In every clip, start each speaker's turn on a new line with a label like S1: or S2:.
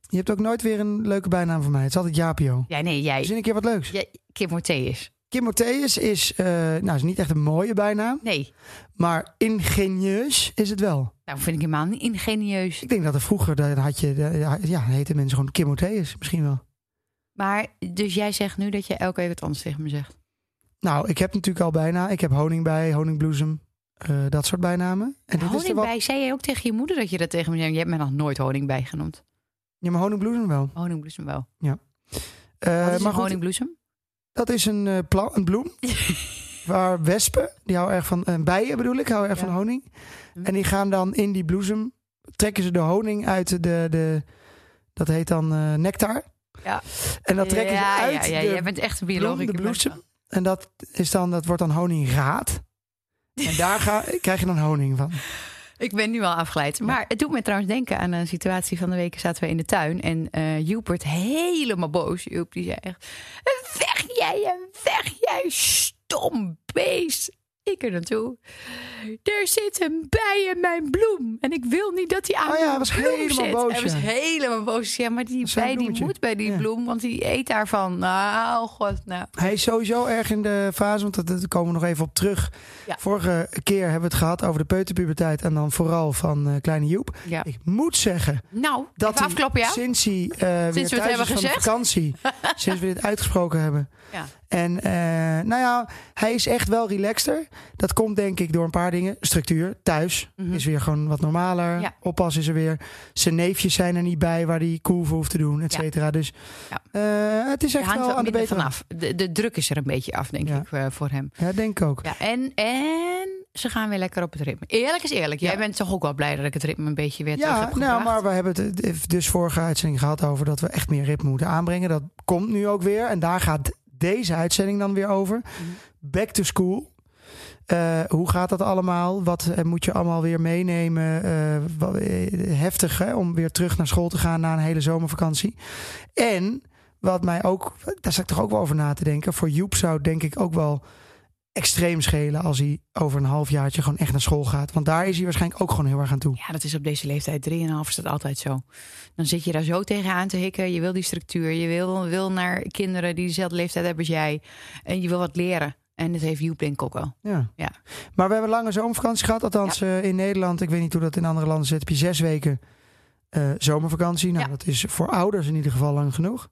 S1: je hebt ook nooit weer een leuke bijnaam voor mij. Het is altijd Japio.
S2: Ja, nee, jij.
S1: Zin een keer wat leuks.
S2: jij Kim Morteus.
S1: Timotheus is, eh, nou, is niet echt een mooie bijnaam,
S2: Nee,
S1: maar ingenieus is het wel.
S2: nou vind ik helemaal niet ingenieus.
S1: Ik denk dat er vroeger dat had je, ja, ja, heette mensen gewoon Kimotheus misschien wel.
S2: Maar, dus jij zegt nu dat je elke week wat anders tegen me zegt.
S1: Nou, ik heb natuurlijk al bijna. Ik heb honing bij, honingbloesem, eh, dat soort bijnamen. En dit is er wel.
S2: Honingbij, zei jij ook tegen je moeder dat je dat tegen me zei? Je hebt me nog nooit honingbij genoemd.
S1: Ja, maar honingbloesem wel.
S2: Honingbloesem wel.
S1: Eh,
S2: Wat Oh, is
S1: maar
S2: een
S1: goed,
S2: honingbloesem?
S1: dat is een, eh, pla- een bloem waar wespen, die houden erg van, en bijen bedoel ik, houden erg
S2: Ja.
S1: van honing.
S2: Hm.
S1: En die gaan dan in die bloesem, trekken ze de honing uit de, de dat heet dan eh, nectar.
S2: Ja.
S1: En dat trekken
S2: ja,
S1: ze uit
S2: Ja, ja,
S1: de
S2: jij bent echt een
S1: bloem,
S2: biologisch.
S1: de bloesem. En dat, is dan, dat wordt dan honingraad. En daar ga, krijg je dan honing van.
S2: Ik ben nu al afgeleid. Maar het doet me trouwens denken aan een situatie van de week. Zaten we in de tuin en eh Joep werd helemaal boos. Joep die zei echt, weg jij en weg jij, stom beest. Ik er naartoe. Er zit een bij in mijn bloem. En ik wil niet dat die aan
S1: Oh ja,
S2: mijn
S1: hij was
S2: bloem
S1: helemaal
S2: zit.
S1: boos,
S2: Hij was
S1: ja.
S2: helemaal boos. Ja, maar die
S1: is zo'n
S2: bij die
S1: bloemetje.
S2: moet bij die
S1: Ja.
S2: bloem. Want die eet daarvan. Nou, god, nou.
S1: Hij is sowieso erg in de fase, want dat- daar komen we nog even op terug.
S2: Ja.
S1: Vorige keer hebben we het gehad over de peuterpuberteit en dan vooral van eh, kleine Joep.
S2: Ja.
S1: Ik moet zeggen
S2: Nou,
S1: dat
S2: even
S1: hij,
S2: afklappen, ja?
S1: sinds hij eh, weer
S2: het
S1: thuis
S2: hebben
S1: is van de
S2: gezegd?
S1: vakantie, sinds we dit uitgesproken hebben.
S2: Ja.
S1: En eh, nou ja, hij is echt wel relaxter. Dat komt denk ik door een paar dingen. Structuur, thuis
S2: Mhm.
S1: is weer gewoon wat normaler.
S2: Ja.
S1: Oppas is er weer. Zijn neefjes zijn er niet bij waar hij cool voor hoeft te doen, et
S2: Ja.
S1: cetera. Dus
S2: Ja.
S1: eh, het is
S2: Er
S1: echt
S2: hangt
S1: wel
S2: wel
S1: aan de
S2: minder
S1: betere.
S2: vanaf. De, de druk is er een beetje af, denk
S1: Ja.
S2: ik, eh, voor hem.
S1: Ja, denk ik ook.
S2: Ja, en, en ze gaan weer lekker op het ritme. Eerlijk is eerlijk. Jij
S1: Ja.
S2: bent toch ook wel blij dat ik het ritme een beetje weer terug
S1: Ja,
S2: heb
S1: nou,
S2: gebracht?
S1: maar we hebben het eh, dus vorige uitzending gehad over dat we echt meer ritme moeten aanbrengen. Dat komt nu ook weer. En daar gaat deze uitzending dan weer over.
S2: Mhm.
S1: Back to school. Eh, hoe gaat dat allemaal? Wat eh, moet je allemaal weer meenemen? Eh, wa- eh, heftig hè, om weer terug naar school te gaan na een hele zomervakantie. En wat mij ook, daar zat ik toch ook wel over na te denken. Voor Joep zou het denk ik ook wel extreem schelen als hij over een halfjaartje gewoon echt naar school gaat. Want daar is hij waarschijnlijk ook gewoon heel erg aan toe.
S2: Ja, dat is op deze leeftijd. 3,5 is dat altijd zo. Dan zit je daar zo tegenaan te hikken. Je wil die structuur. Je wil, wil naar kinderen die dezelfde leeftijd hebben als jij. En je wil wat leren. En dat heeft Joep denk ik ook wel.
S1: Ja.
S2: Ja.
S1: Maar we hebben lange zomervakantie gehad. Althans, eh, in Nederland, ik weet niet hoe dat in andere landen zit, heb je zes weken eh, zomervakantie. Nou,
S2: Ja.
S1: dat is voor ouders in ieder geval lang genoeg.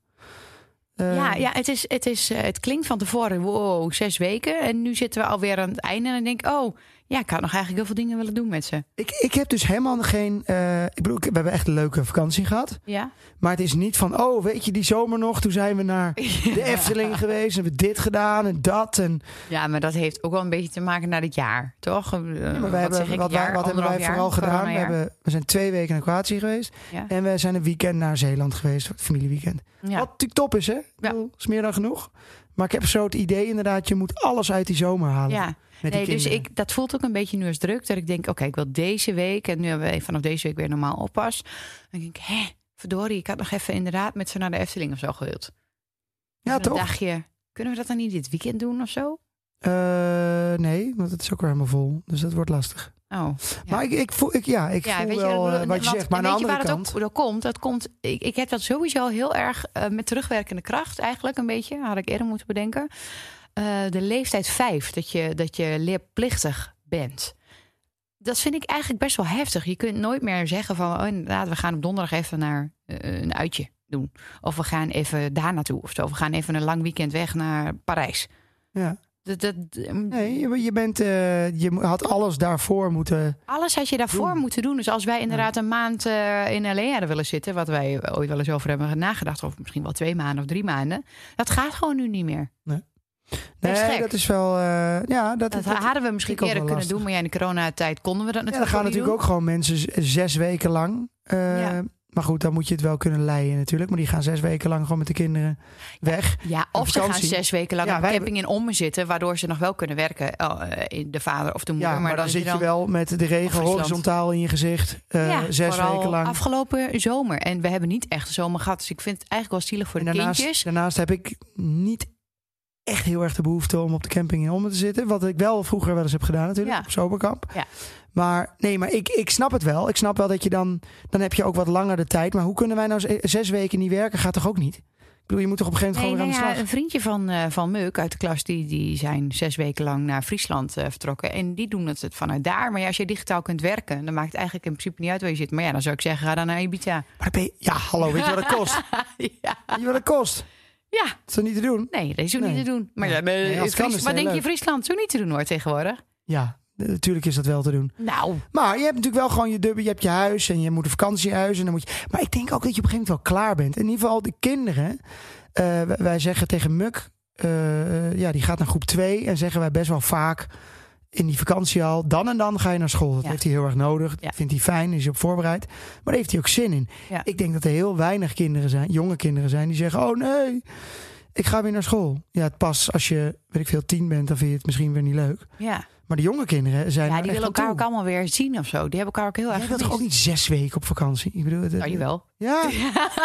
S1: Eh,
S2: Ja, ja het, is, het, is, eh, het klinkt van tevoren, wow, zes weken. En nu zitten we alweer aan het einde. En dan denk ik, oh, ja, ik had nog eigenlijk heel veel dingen willen doen met ze.
S1: Ik, ik heb dus helemaal geen. eh, ik bedoel, ik- we hebben echt een leuke vakantie gehad.
S2: Ja.
S1: Maar het is niet van, oh, weet je, die zomer nog, toen zijn we naar de Efteling geweest en hebben we dit gedaan en dat. En,
S2: Ja, maar dat heeft ook wel een beetje te maken naar het jaar, toch? Eh, Ja,
S1: maar we hebben, wat, wij- wat hebben wij vooral gedaan? We, hebben, we zijn twee weken naar Kroatië geweest
S2: Ja.
S1: en we zijn een weekend naar Zeeland geweest, het familieweekend.
S2: Ja.
S1: Wat natuurlijk top is, hè? Ik
S2: Ja.
S1: bedoel, is meer dan genoeg. Maar ik heb zo het idee inderdaad, je moet alles uit die zomer halen.
S2: ja.
S1: Met
S2: Nee,
S1: die
S2: dus
S1: kinderen.
S2: ik, dat voelt ook een beetje nu als druk. Dat ik denk, oké, ik wil deze week... en nu hebben we vanaf deze week weer normaal oppas. Dan denk ik, hè, verdorie, ik had nog even inderdaad... met ze naar de Efteling of zo gewild. Dus
S1: Ja,
S2: Even
S1: toch?
S2: Een dagje, kunnen we dat dan niet dit weekend doen of zo?
S1: Eh, nee, want het is ook weer helemaal vol. Dus dat wordt lastig.
S2: Oh. Ja.
S1: Maar ik, ik voel, ik, ja, ik voel wel
S2: bedoel-
S1: eh, wat je
S2: want-
S1: zegt. Maar aan de
S2: en weet je
S1: andere
S2: waar
S1: kant...
S2: Dat, ook, dat komt, dat komt ik, ik heb dat sowieso heel erg eh, met terugwerkende kracht eigenlijk een beetje. Had ik eerder moeten bedenken. Eh, de leeftijd vijf, dat je, dat je leerplichtig bent. Dat vind ik eigenlijk best wel heftig. Je kunt nooit meer zeggen van... Oh, inderdaad, we gaan op donderdag even naar eh, een uitje doen. Of we gaan even daar naartoe of zo. We gaan even een lang weekend weg naar Parijs.
S1: Ja.
S2: Dat, dat, mm,
S1: Nee, je, je bent, eh, je mo- had alles daarvoor moeten.
S2: Alles had je daarvoor
S1: Doen.
S2: moeten doen. Dus als wij inderdaad een maand eh, in L.A. hadden willen zitten... wat wij ooit wel eens over hebben nagedacht... of misschien wel twee maanden of drie maanden... dat gaat gewoon nu niet meer. Dat is
S1: Nee,
S2: gek.
S1: dat is wel. eh, ja, dat,
S2: Dat
S1: dat,
S2: hadden we misschien
S1: vind ik ook
S2: eerder kunnen
S1: wel
S2: doen... maar ja, in de coronatijd konden we dat
S1: ja, dan
S2: natuurlijk
S1: gaan
S2: niet
S1: natuurlijk ook gewoon mensen z- zes weken lang. eh,
S2: Ja.
S1: Maar goed, dan moet je het wel kunnen leiden natuurlijk. Maar die gaan zes weken lang gewoon met de kinderen weg.
S2: doen. Ja, of ze gaan
S1: vakantie.
S2: zes weken lang
S1: Ja,
S2: op
S1: wij-
S2: camping in Ommen zitten... waardoor ze nog wel kunnen werken, oh, eh, in de vader of de
S1: Ja,
S2: moeder.
S1: maar, dan
S2: dat
S1: zit je wel met de regen
S2: Of Friesland.
S1: horizontaal in je gezicht. eh,
S2: Ja,
S1: zes
S2: vooral
S1: weken lang.
S2: afgelopen zomer. En we hebben niet echt de zomer gehad. Dus ik vind het eigenlijk wel zielig voor
S1: En
S2: de
S1: daarnaast,
S2: kindjes.
S1: daarnaast heb ik niet echt heel erg de behoefte om op de camping in Ommen te zitten. Wat ik wel vroeger wel eens heb gedaan natuurlijk,
S2: Ja.
S1: op zomerkamp.
S2: Ja.
S1: Maar nee, maar ik, ik snap het wel. Ik snap wel dat je dan, dan heb je ook wat langer de tijd. Maar hoe kunnen wij nou z- zes weken niet werken? Gaat toch ook niet? Ik bedoel, je moet toch op een gegeven moment
S2: Nee,
S1: gewoon
S2: nou
S1: weer aan
S2: ja,
S1: de
S2: een vriendje van, eh, van Meuk uit de klas, die, die zijn zes weken lang naar Friesland eh, vertrokken. En die doen het vanuit daar. Maar ja, als je digitaal kunt werken, dan maakt het eigenlijk in principe niet uit waar je zit. Maar ja, dan zou ik zeggen, ga dan naar Ibiza.
S1: slag. Maar dan ben je- ja, hallo, weet je wat het kost?
S2: ja.
S1: Weet je wat het kost? Dat
S2: ja,
S1: is toch niet te doen?
S2: nee, dat is ook
S1: Nee.
S2: niet te doen. Maar
S1: Nee.
S2: ja, nee,
S1: Nee, als het kan
S2: Fries-
S1: is het
S2: wat
S1: heel
S2: denk je,
S1: leuk.
S2: Friesland? Zo niet te doen hoor, tegenwoordig.
S1: Ja, natuurlijk is dat wel te doen.
S2: Nou,
S1: Maar je hebt natuurlijk wel gewoon je dubbel, je hebt je huis en je moet een vakantiehuis. En dan moet je, maar ik denk ook dat je op een gegeven moment wel klaar bent. In ieder geval de kinderen. eh, w- wij zeggen tegen Muk, eh, ja, die gaat naar groep 2. En zeggen wij best wel vaak in die vakantie al, dan en dan ga je naar school. Dat
S2: Ja.
S1: heeft hij heel erg nodig.
S2: Ja.
S1: Dat vindt hij fijn, is hij op voorbereid. Maar daar heeft hij ook zin in.
S2: Ja.
S1: Ik denk dat er heel weinig kinderen zijn, jonge kinderen zijn, die zeggen, oh nee, ik ga weer naar school. Ja, het pas als je, weet ik veel, tien bent, dan vind je het misschien weer niet leuk.
S2: ja,
S1: Maar de jonge kinderen zijn
S2: ja
S1: er
S2: die
S1: echt
S2: willen
S1: aan
S2: elkaar
S1: toe.
S2: ook allemaal weer zien of zo. Die hebben elkaar ook heel erg
S1: Jij wilt toch ook
S2: gemist.
S1: niet zes weken op vakantie? Ik bedoel, het,
S2: Nou, jawel.
S1: Ja,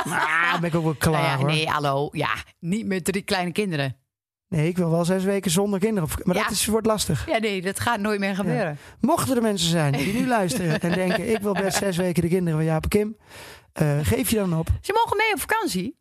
S1: maar dan ben ik ook wel klaar
S2: Nou ja,
S1: hoor. Nee.
S2: nee, hallo. Ja, niet met drie kleine kinderen.
S1: ik wil wel zes weken zonder kinderen op vak- Maar
S2: Ja.
S1: dat is, wordt lastig.
S2: Ja, nee, dat gaat nooit meer gebeuren.
S1: Mochten er mensen zijn die nu luisteren en denken... ik wil best zes weken de kinderen van Jaap en Kim. eh, geef je dan op.
S2: Ze mogen mee op vakantie.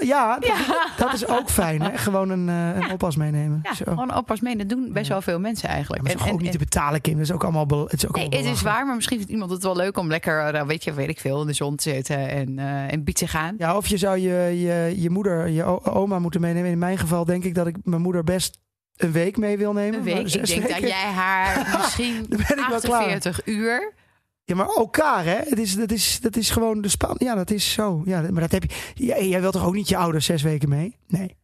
S1: Ja, dat,
S2: Ja.
S1: dat is ook fijn. Hè? Gewoon een, eh, een oppas meenemen.
S2: Ja,
S1: Zo. Ja,
S2: gewoon oppas mee. Dat doen best
S1: Ja.
S2: wel veel mensen eigenlijk.
S1: maar het is toch ook niet te betalen, Kim. Dat is ook allemaal... bel- Het is, ook
S2: Nee,
S1: allemaal
S2: het is
S1: belachelijk.
S2: waar, maar misschien vindt iemand het wel leuk om lekker, eh, weet je, weet ik veel, in de zon te zitten en, eh en biet te gaan.
S1: Ja, of je zou je, je, je moeder, je o- oma moeten meenemen. In mijn geval denk ik dat ik mijn moeder best een week mee wil nemen.
S2: Een
S1: maar
S2: week. Ik
S1: zes
S2: denk dat
S1: weken-
S2: jij haar misschien
S1: Dan ben ik wel klaar.
S2: 48 uur.
S1: Ja, maar elkaar, hè? Het is, dat, is, dat is gewoon de span. Ja, dat is zo. Ja, maar dat heb je. Jij, jij wilt toch ook niet je ouders zes weken mee? Nee.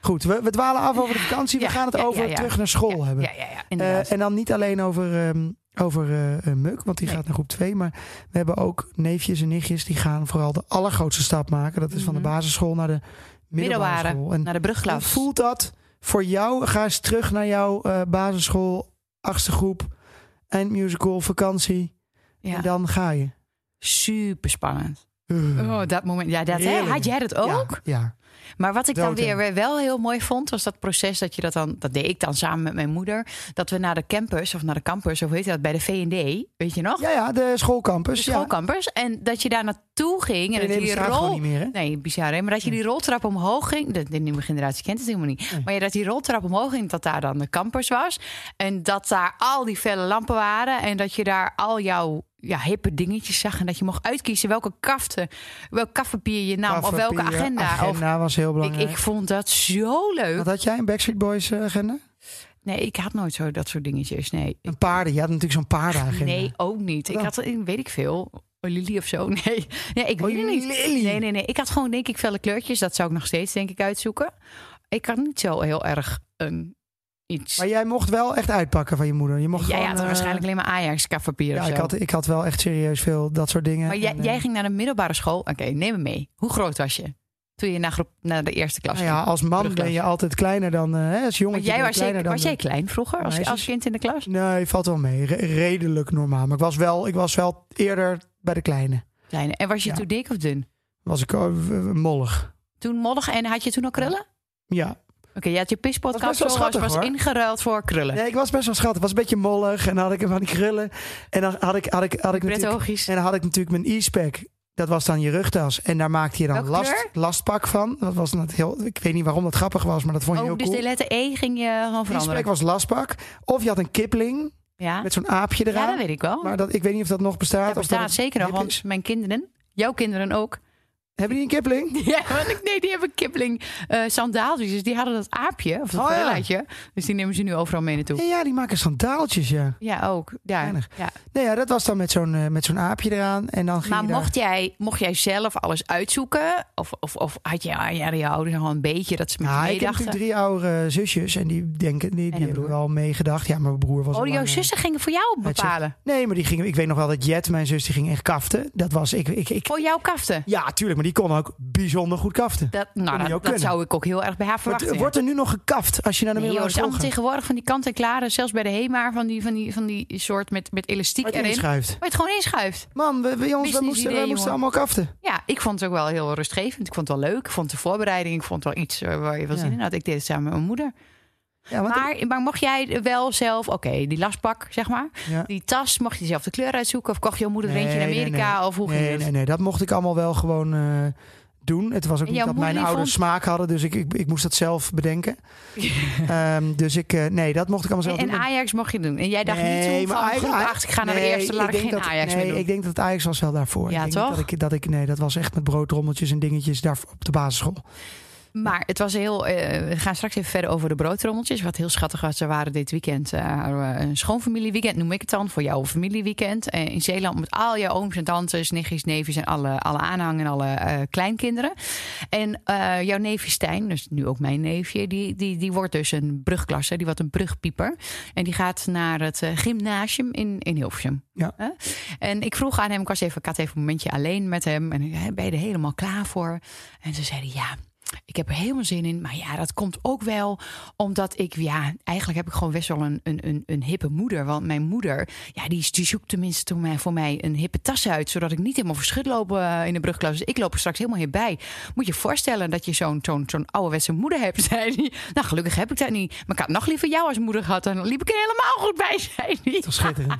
S1: Goed, we, we dwalen af over de vakantie.
S2: Ja,
S1: we gaan het
S2: ja,
S1: over
S2: ja, ja.
S1: terug naar school
S2: ja,
S1: hebben.
S2: Ja, ja, ja,
S1: Eh,
S2: inderdaad.
S1: en dan niet alleen over, ehm, over eh, eh, Muk, want die
S2: Nee.
S1: gaat naar groep 2. Maar we hebben ook neefjes en nichtjes die gaan vooral de allergrootste stap maken. Dat is van de
S2: Mhm.
S1: basisschool naar de middelbare,
S2: Middelbare,
S1: school. En
S2: Naar de
S1: hoe
S2: brugglas.
S1: voelt dat voor jou? Ga eens terug naar jouw eh, basisschool, achtste groep, eindmusical, vakantie. En
S2: Ja.
S1: dan ga je.
S2: Super spannend.
S1: Uh.
S2: Oh, dat moment. Ja, dat, hè?
S1: Heerlijk.
S2: had jij dat ook?
S1: Ja.
S2: Maar wat ik dan
S1: Doodeng.
S2: weer weer wel heel mooi vond, was dat proces dat je dat dan, dat deed ik dan samen met mijn moeder, dat we naar de campus of naar de campus, of hoe heet dat, bij de V&D, weet je nog?
S1: ja, ja, de
S2: de
S1: schoolcampus. ja.
S2: schoolcampus. En dat je daar naartoe ging en
S1: Nee, nee,
S2: dat je
S1: die
S2: die
S1: staat gewoon
S2: rol...
S1: niet meer, hè?
S2: Nee, bizar hè? Maar dat je die roltrap omhoog ging... De, de nieuwe generatie kent het helemaal niet.
S1: Nee.
S2: Maar ja, dat die roltrap omhoog ging, dat daar dan de campus was. En dat daar al die felle lampen waren. En dat je daar al jouw ja, hippe dingetjes zag. En dat je mocht uitkiezen welke kaften, welk kafpapier je nam. of Nou, welke
S1: Papier,
S2: agenda. Of,
S1: agenda was heel
S2: ik,
S1: belangrijk.
S2: ik vond dat zo leuk.
S1: Wat had jij, een Backstreet Boys eh, agenda?
S2: Nee, ik had nooit zo dat soort dingetjes. Nee,
S1: Een paarden. Je had natuurlijk zo'n paardenagenda.
S2: Nee, ook niet.
S1: Wat
S2: Ik
S1: dan?
S2: had, een- weet ik veel, een Lily of zo. Nee, nee ik
S1: Oh,
S2: weet het niet.
S1: Lily.
S2: Nee, nee, nee. Ik had gewoon, denk ik, felle kleurtjes. Dat zou ik nog steeds, denk ik, uitzoeken. Ik had niet zo heel erg een iets.
S1: Maar jij mocht wel echt uitpakken van je moeder. Je mocht
S2: jij
S1: gewoon,
S2: had
S1: eh,
S2: waarschijnlijk alleen maar Ajax-kafpapier of
S1: Ja,
S2: zo.
S1: ik had, ik had wel echt serieus veel dat soort dingen.
S2: maar jij,
S1: En, eh,
S2: jij ging naar de middelbare school. Oké, neem me mee. Hoe groot was je toen je naar, groep, naar de eerste klas
S1: nou
S2: ging?
S1: ja, als man
S2: Brugklas.
S1: ben je altijd kleiner dan... eh, hè, als
S2: maar
S1: jongetje ben
S2: jij
S1: je
S2: was,
S1: kleiner
S2: zeker,
S1: dan...
S2: was
S1: de-
S2: jij klein vroeger als,
S1: meisjes.
S2: als kind in de klas?
S1: Nee, valt wel mee. Re- redelijk normaal. Maar ik was, wel, ik was wel eerder bij de kleine.
S2: Klein. En was je
S1: Ja.
S2: toen dik of dun?
S1: Was ik eh, w- w- mollig.
S2: Toen mollig en had je toen al krullen?
S1: Ja,
S2: Oké, je had je
S1: best wel
S2: pispotkapsel was,
S1: schattig,
S2: was
S1: hoor.
S2: ingeruild voor krullen.
S1: Nee, ik was best wel schattig. was een beetje mollig en dan had ik van die krullen. En dan had ik, had ik, had ik, natuurlijk,
S2: Prettogisch.
S1: en dan had ik natuurlijk mijn e-spec. Dat was dan je rugtas. En daar maakte je dan
S2: Welke
S1: last,
S2: kleur?
S1: lastpak van. Dat was net heel, ik weet niet waarom dat grappig was, maar dat vond je
S2: Oh,
S1: heel
S2: dus
S1: cool.
S2: de letter E ging je gewoon veranderen.
S1: e-spec was lastpak. Of je had een kipling
S2: Ja.
S1: met zo'n aapje
S2: Ah. ja,
S1: eraan.
S2: dat weet ik wel.
S1: maar dat, ik weet niet of dat nog bestaat.
S2: dat
S1: of
S2: bestaat
S1: het
S2: zeker nog,
S1: hip
S2: want
S1: is.
S2: mijn kinderen, jouw kinderen ook,
S1: Hebben die een kipling?
S2: Ja, want ik, nee, die hebben Kipling eh sandaaltjes. Dus die hadden dat aapje, of dat
S1: Oh, ja.
S2: velaatje. Dus die nemen ze nu overal mee naartoe.
S1: Ja, ja, die maken sandaaltjes, ja.
S2: Ja, ook. Ja,
S1: Weinig.
S2: ja.
S1: Nee, ja, dat was dan met zo'n eh, met zo'n aapje eraan. En dan ging
S2: Maar
S1: je daar-
S2: mocht jij, mocht jij zelf alles uitzoeken? Of, of, of had je, ah, ja, je ouders al een beetje dat ze met je
S1: Nou, ik heb
S2: meedachten?
S1: natuurlijk drie oudere zusjes en die denken, die, die
S2: een
S1: hebben
S2: broer.
S1: wel meegedacht. Ja, maar mijn broer was.
S2: Oh,
S1: al
S2: jouw
S1: lang, eh,
S2: zussen gingen voor jou
S1: het
S2: bepalen.
S1: Nee, maar die gingen. Ik weet nog wel dat Jet, mijn zus, die ging echt kaften. Dat was ik. ik, ik
S2: Voor jouw kaften.
S1: ja, tuurlijk, maar die kon ook bijzonder goed kaften.
S2: Dat, nou,
S1: je ook
S2: dat, dat
S1: kunnen.
S2: zou ik ook heel erg bij haar
S1: Wordt,
S2: verwachten. ja.
S1: wordt er nu nog gekaft als je naar de
S2: Nee, joh, het
S1: middelbare
S2: is allemaal
S1: school gaat?
S2: tegenwoordig van die kant-en-klare, zelfs bij de HEMA, van die, van die, van die soort met, met elastiek
S1: Wat je
S2: erin. Waar
S1: inschuift.
S2: je het gewoon inschuift.
S1: Man, we, we, jongens, we
S2: Business
S1: moesten,
S2: idee,
S1: we moesten
S2: jongen.
S1: allemaal kaften.
S2: Ja, ik vond het ook wel heel rustgevend. Ik vond het wel leuk. Ik vond de voorbereiding, ik vond het wel iets eh, waar je wel
S1: Ja.
S2: zin in had. Ik deed het samen met mijn moeder.
S1: Ja, want
S2: Maar, maar mocht jij wel zelf, oké, die lastbak, zeg maar.
S1: Ja.
S2: Die tas, mocht je zelf de kleur uitzoeken? Of kocht jouw moeder er
S1: Nee,
S2: eentje in
S1: nee,
S2: Amerika? Of hoe ging
S1: nee,
S2: dat?
S1: nee, nee, dat mocht ik allemaal wel gewoon eh, doen. Het was ook
S2: En
S1: niet
S2: jouw
S1: dat
S2: moeder
S1: mijn
S2: die
S1: ouders
S2: vond-
S1: smaak hadden, dus ik, ik, ik moest dat zelf bedenken. Ehm, dus ik, eh, nee, dat mocht ik allemaal zelf
S2: En,
S1: doen.
S2: en Ajax mocht je doen. En jij dacht niet zo van,
S1: Ajax-
S2: groep
S1: Ajax-
S2: acht, ik ga naar de
S1: Nee,
S2: eerste, laat
S1: ik
S2: ik geen
S1: denk dat-
S2: Ajax
S1: nee,
S2: meer doen.
S1: Ik denk dat het Ajax was wel daarvoor.
S2: Ja,
S1: ik denk niet
S2: toch?
S1: Dat ik, dat ik, nee, dat was echt met broodrommeltjes en dingetjes daar op de basisschool.
S2: Maar het was heel. eh, we gaan straks even verder over de broodtrommeltjes. Wat heel schattig was. Er waren dit weekend eh, hadden we een schoonfamilieweekend, noem ik het dan. Voor jouw familieweekend. eh, in Zeeland met al je ooms en tantes, nichtjes, neefjes en alle, alle aanhang en alle eh, kleinkinderen. En eh, jouw neefje Stijn, dus nu ook mijn neefje, die, die, die wordt dus een brugklasser. Die wordt een brugpieper. En die gaat naar het eh, gymnasium in, in Hilversum.
S1: Ja.
S2: Hè? En ik vroeg aan hem, ik, was even, ik had even een momentje alleen met hem. En ik zei, ben je er helemaal klaar voor? En ze zeiden ja. Ik heb er helemaal zin in. Maar ja, dat komt ook wel omdat ik, ja, eigenlijk heb ik gewoon best wel een, een, een, een hippe moeder. Want mijn moeder, ja, die, is- die zoekt tenminste toen mij- voor mij een hippe tas uit. Zodat ik niet helemaal verschut loop eh, in de brugklas. Dus ik loop er straks helemaal hip bij. Moet je je voorstellen dat je zo'n zo'n zo'n ouderwetse moeder hebt, zei hij. Nou, gelukkig heb ik dat niet. Maar ik had nog liever jou als moeder gehad. Dan liep ik er helemaal goed bij, zei hij.
S1: Het was schitterend.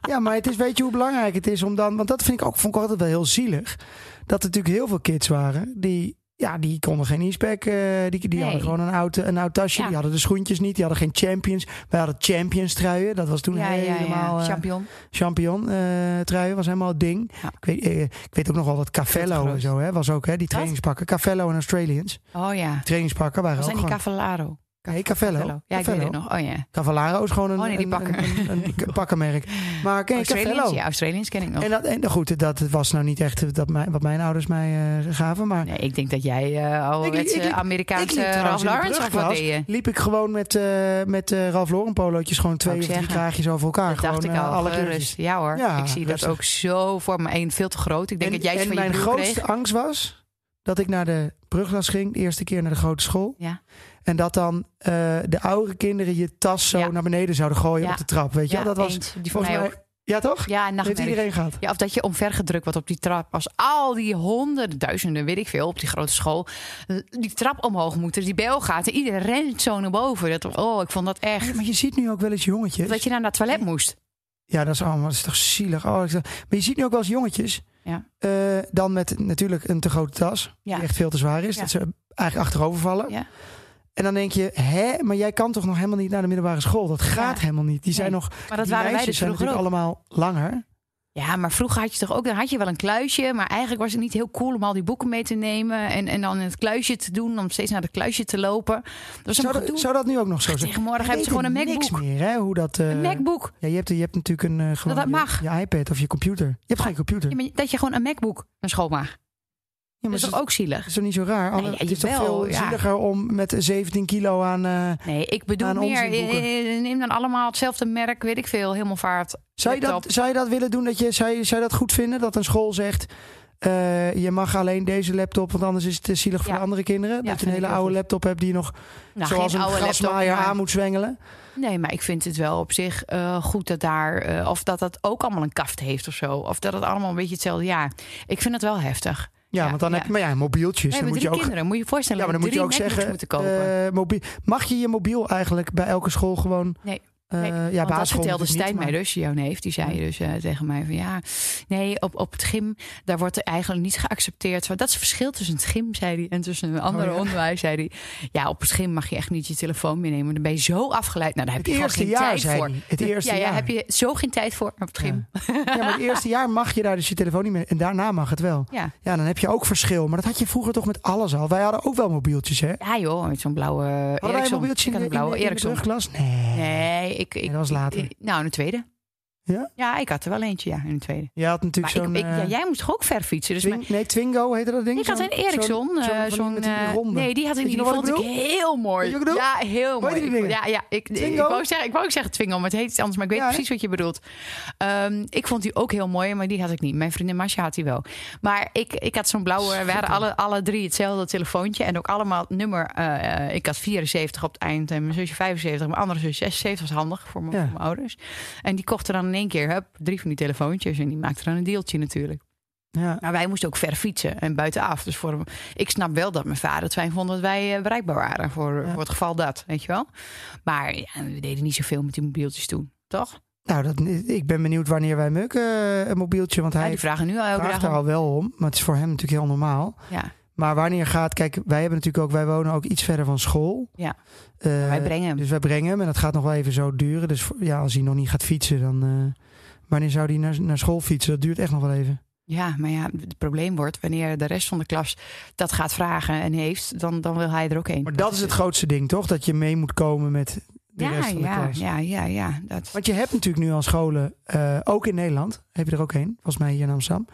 S1: ja, maar het is, weet je hoe belangrijk het is om dan... Want dat vind ik ook, vond ik altijd wel heel zielig. Dat er natuurlijk heel veel kids waren die... Ja, die konden geen e-spec. eh, die die
S2: Nee.
S1: hadden gewoon een oud, een oud tasje.
S2: Ja.
S1: Die hadden de schoentjes niet. Die hadden geen champions. Wij hadden champions truien. Dat was toen helemaal... eh,
S2: Champion.
S1: champion eh truien was helemaal het ding.
S2: Ja.
S1: Ik, weet, eh, ik weet ook nog wel dat Cavello en zo hè, was ook, hè, die trainingspakken. Cavello en Australians.
S2: Oh ja.
S1: Trainingspakken waren
S2: Was
S1: ook
S2: zijn die
S1: gewoon...
S2: Cavallaro?
S1: Nee, Cavello.
S2: Ja, ik weet
S1: Cavello.
S2: het nog. Oh ja.
S1: Cavallaro is gewoon een,
S2: Oh, nee, die
S1: een-
S2: pakken.
S1: een, een, een pakkenmerk. Maar ken je
S2: Australiërs,
S1: Cavello?
S2: ja, Australiërs ken ik nog.
S1: En, dat, en goed, dat was nou niet echt dat mijn, wat mijn ouders mij eh, gaven. Maar
S2: Nee, ik denk dat jij eh
S1: Ik- ik-
S2: ouderwetse
S1: ik- ik
S2: Amerikaanse
S1: liep trouwens
S2: Ralph
S1: in de
S2: Lauren of wat
S1: brugklas.
S2: deed je?
S1: liep ik gewoon met, eh met eh Ralph Lauren polootjes gewoon twee
S2: Wou
S1: of
S2: ik
S1: drie
S2: zeggen.
S1: kraagjes over elkaar.
S2: Dat
S1: gewoon,
S2: dacht ik
S1: eh,
S2: al.
S1: alle
S2: gerust.
S1: kleurtjes.
S2: Ja hoor,
S1: Ja,
S2: ik zie
S1: rustig.
S2: dat ook zo voor me. Eén, veel te groot. Ik denk
S1: en
S2: dat jij iets
S1: en
S2: van je
S1: mijn
S2: broer
S1: grootste
S2: kreeg.
S1: angst was dat ik naar de brugklas ging, de eerste keer naar de grote school.
S2: Ja.
S1: En dat dan eh, de oudere kinderen je tas zo
S2: Ja.
S1: naar beneden zouden gooien
S2: Ja.
S1: op de trap. Weet je,
S2: Ja,
S1: wel? dat was
S2: eens. die van
S1: volgens
S2: mij
S1: mij.
S2: ook.
S1: Ja, toch?
S2: Ja,
S1: Dat heeft
S2: nachtmerrie.
S1: iedereen gehad.
S2: Ja, of dat je omvergedrukt wordt op die trap. Als al die honderden, duizenden, weet ik veel, op die grote school... eh, die trap omhoog moeten, die bel gaat. En iedereen rent zo naar boven. Dat, oh, ik vond dat echt...
S1: Maar je ziet nu ook wel eens jongetjes.
S2: Dat je naar dat toilet moest.
S1: Ja, dat is allemaal dat is toch zielig. Oh, ik zeg- maar je ziet nu ook wel eens jongetjes.
S2: Ja.
S1: eh, dan met natuurlijk een te grote tas.
S2: Ja.
S1: Die echt veel te zwaar is.
S2: Ja.
S1: Dat ze eigenlijk achterover vallen.
S2: Ja.
S1: En dan denk je, hè, maar jij kan toch nog helemaal niet naar de middelbare school? Dat gaat
S2: Ja.
S1: helemaal niet. Die zijn
S2: Nee.
S1: nog. die
S2: Maar dat waren wij
S1: meisjes
S2: dus
S1: zijn
S2: vroeger ook.
S1: natuurlijk allemaal langer.
S2: Ja, maar vroeger had je toch ook, dan had je wel een kluisje. Maar eigenlijk was het niet heel cool om al die boeken mee te nemen. En, en dan in het kluisje te doen, om steeds naar het kluisje te lopen. Dat was een
S1: Zou, dat-
S2: gedoe.
S1: zou dat nu ook nog zo zijn?
S2: Tegenwoordig hebben ze
S1: Weet
S2: gewoon een
S1: het
S2: MacBook.
S1: Niks meer, hè? Hoe dat. eh,
S2: Een MacBook.
S1: Ja, je hebt, je hebt natuurlijk een. eh, gewoon
S2: dat
S1: je-
S2: mag.
S1: Je, iPad of je computer. Je hebt
S2: Maar-
S1: geen computer.
S2: Ja, maar Dat je gewoon een MacBook naar school mag.
S1: Ja, maar
S2: Dat is
S1: het
S2: toch ook zielig?
S1: is toch niet zo raar? Alle-
S2: ja,
S1: het is toch
S2: jawel,
S1: veel
S2: ja.
S1: zieliger om met 17 kilo aan. eh,
S2: Nee, ik bedoel
S1: Aan
S2: meer,
S1: onzinboeken.
S2: eh, eh, neem dan allemaal hetzelfde merk, weet ik veel, helemaal vaart.
S1: Zou je, dat,
S2: Laptop.
S1: zou je dat willen doen? Dat je, zou, je, zou je dat goed vinden? Dat een school zegt, eh, je mag alleen deze laptop, want anders is het te zielig voor
S2: Ja.
S1: de andere kinderen. dat
S2: vind
S1: je een
S2: ik
S1: hele
S2: heel
S1: oude
S2: goed.
S1: laptop hebt die je nog
S2: Nou,
S1: zoals
S2: geen
S1: een
S2: oude laptop,
S1: grasmaaier
S2: maar-
S1: aan moet zwengelen.
S2: Nee, maar ik vind het wel op zich eh, goed dat daar... eh, of dat dat ook allemaal een kaft heeft of zo. Of dat het allemaal een beetje hetzelfde... Ja, ik vind het wel heftig.
S1: Ja,
S2: Ja,
S1: want dan
S2: ja.
S1: heb je, maar ja, mobieltjes.
S2: We
S1: Dus dan
S2: hebben
S1: moet
S2: drie
S1: je ook,
S2: kinderen, moet je je voorstellen.
S1: ja, maar dan moet
S2: drie
S1: je ook
S2: MacBooks
S1: zeggen,
S2: moeten kopen.
S1: eh, mobiel, mag je je mobiel eigenlijk bij elke school gewoon
S2: Nee. Nee,
S1: Eh, ja,
S2: want dat
S1: basisschool
S2: vertelde
S1: natuurlijk
S2: Stijn
S1: niet,
S2: mij
S1: maar-
S2: dus, jouw neef. Die zei dus eh, tegen mij van ja, nee, op, op het gym, daar wordt er eigenlijk niet geaccepteerd. Zo, Dat is het verschil tussen het gym, zei hij, en tussen een andere
S1: Oh, ja.
S2: onderwijs, zei hij. Ja, op het gym mag je echt niet je telefoon meenemen. Dan ben je zo afgeleid. Nou, daar heb
S1: Het
S2: je gewoon
S1: eerste
S2: geen
S1: jaar,
S2: tijd
S1: zei
S2: voor.
S1: hij. Het eerste
S2: ja, ja,
S1: jaar.
S2: heb je zo geen tijd voor op het gym. Ja,
S1: Ja, maar het eerste jaar mag je daar dus je telefoon niet mee. En daarna mag het wel.
S2: ja.
S1: Ja, dan heb je ook verschil. Maar dat had je vroeger toch met alles al. Wij hadden ook wel mobieltjes, hè?
S2: joh, met zo'n blauwe eh,
S1: Hadden wij een
S2: Ericsson.
S1: mobieltje
S2: Ik
S1: in
S2: had
S1: de,
S2: een
S1: in de-
S2: blauwe
S1: in de
S2: Ericsson.
S1: brugklas? Nee.
S2: Nee, ik, ik,
S1: dat was later.
S2: ik- nou, een tweede.
S1: Ja?
S2: Ja, ik had er wel eentje, ja, een tweede.
S1: Je had natuurlijk
S2: Maar
S1: zo'n...
S2: ik, ik- ja,
S1: eh,
S2: jij moest toch ook ver fietsen? Dus mijn-
S1: Twing- nee, Twingo heette dat ding.
S2: Ik had
S1: Zo'n-
S2: een Ericsson.
S1: Zo'n,
S2: eh,
S1: zo'n, van die
S2: zo'n,
S1: met die
S2: eh,
S1: ronde.
S2: nee, die had ik
S1: Weet
S2: niet.
S1: je
S2: Die
S1: nog wat
S2: vond ik
S1: bedoel?
S2: heel mooi.
S1: Weet je wat ik bedoel?
S2: Ja, heel
S1: Hoe heet
S2: mooi.
S1: die
S2: Ik-
S1: dingen?
S2: ja, ja, ik, ik,
S1: Twingo?
S2: wou zeggen, ik wou ook zeggen Twingo, maar het heet iets anders. Maar ik weet
S1: Ja, hè?
S2: precies wat je bedoelt. Ehm, ik vond die ook heel mooi, maar die had ik niet. Mijn vriendin Masha had die wel. Maar ik, ik had zo'n blauwe. We hadden alle, alle drie hetzelfde telefoontje. En ook allemaal nummer. eh, eh, ik had 74 op het eind. En mijn zusje 75. Mijn andere zusje 76 was handig voor mijn,
S1: Ja.
S2: voor mijn ouders. En die kochten dan in één keer hup, drie van die telefoontjes. En die maakten dan een deeltje natuurlijk.
S1: Ja.
S2: Maar wij moesten ook ver fietsen en buitenaf. Dus voor hem, ik snap wel dat mijn vader het fijn vond dat wij eh, bereikbaar waren. Voor,
S1: Ja.
S2: voor het geval dat, weet je wel. Maar ja, we deden niet zoveel met die mobieltjes toen, toch?
S1: Nou, dat, ik ben benieuwd wanneer wij Muk eh, een mobieltje... Want
S2: Ja,
S1: hij
S2: die vragen nu al elke
S1: vraagt
S2: dag.
S1: er
S2: om.
S1: al wel om. Maar het is voor hem natuurlijk heel normaal.
S2: Ja,
S1: Maar wanneer gaat... Kijk, wij hebben natuurlijk ook... Wij wonen ook iets verder van school.
S2: Ja.
S1: Eh,
S2: wij brengen hem.
S1: Dus wij brengen hem. En dat gaat nog wel even zo duren. Dus voor- ja, als hij nog niet gaat fietsen, dan... eh, wanneer zou hij naar, naar school fietsen? Dat duurt echt nog wel even.
S2: Ja, maar ja, het probleem wordt wanneer de rest van de klas dat gaat vragen en heeft, dan, dan wil hij er ook een.
S1: Maar dat is het grootste ding, toch? Dat je mee moet komen met de
S2: ja,
S1: rest van de
S2: ja,
S1: klas.
S2: ja, ja, ja, dat.
S1: Want je hebt natuurlijk nu al scholen, eh, ook in Nederland, heb je er ook één, volgens mij hier in Amsterdam.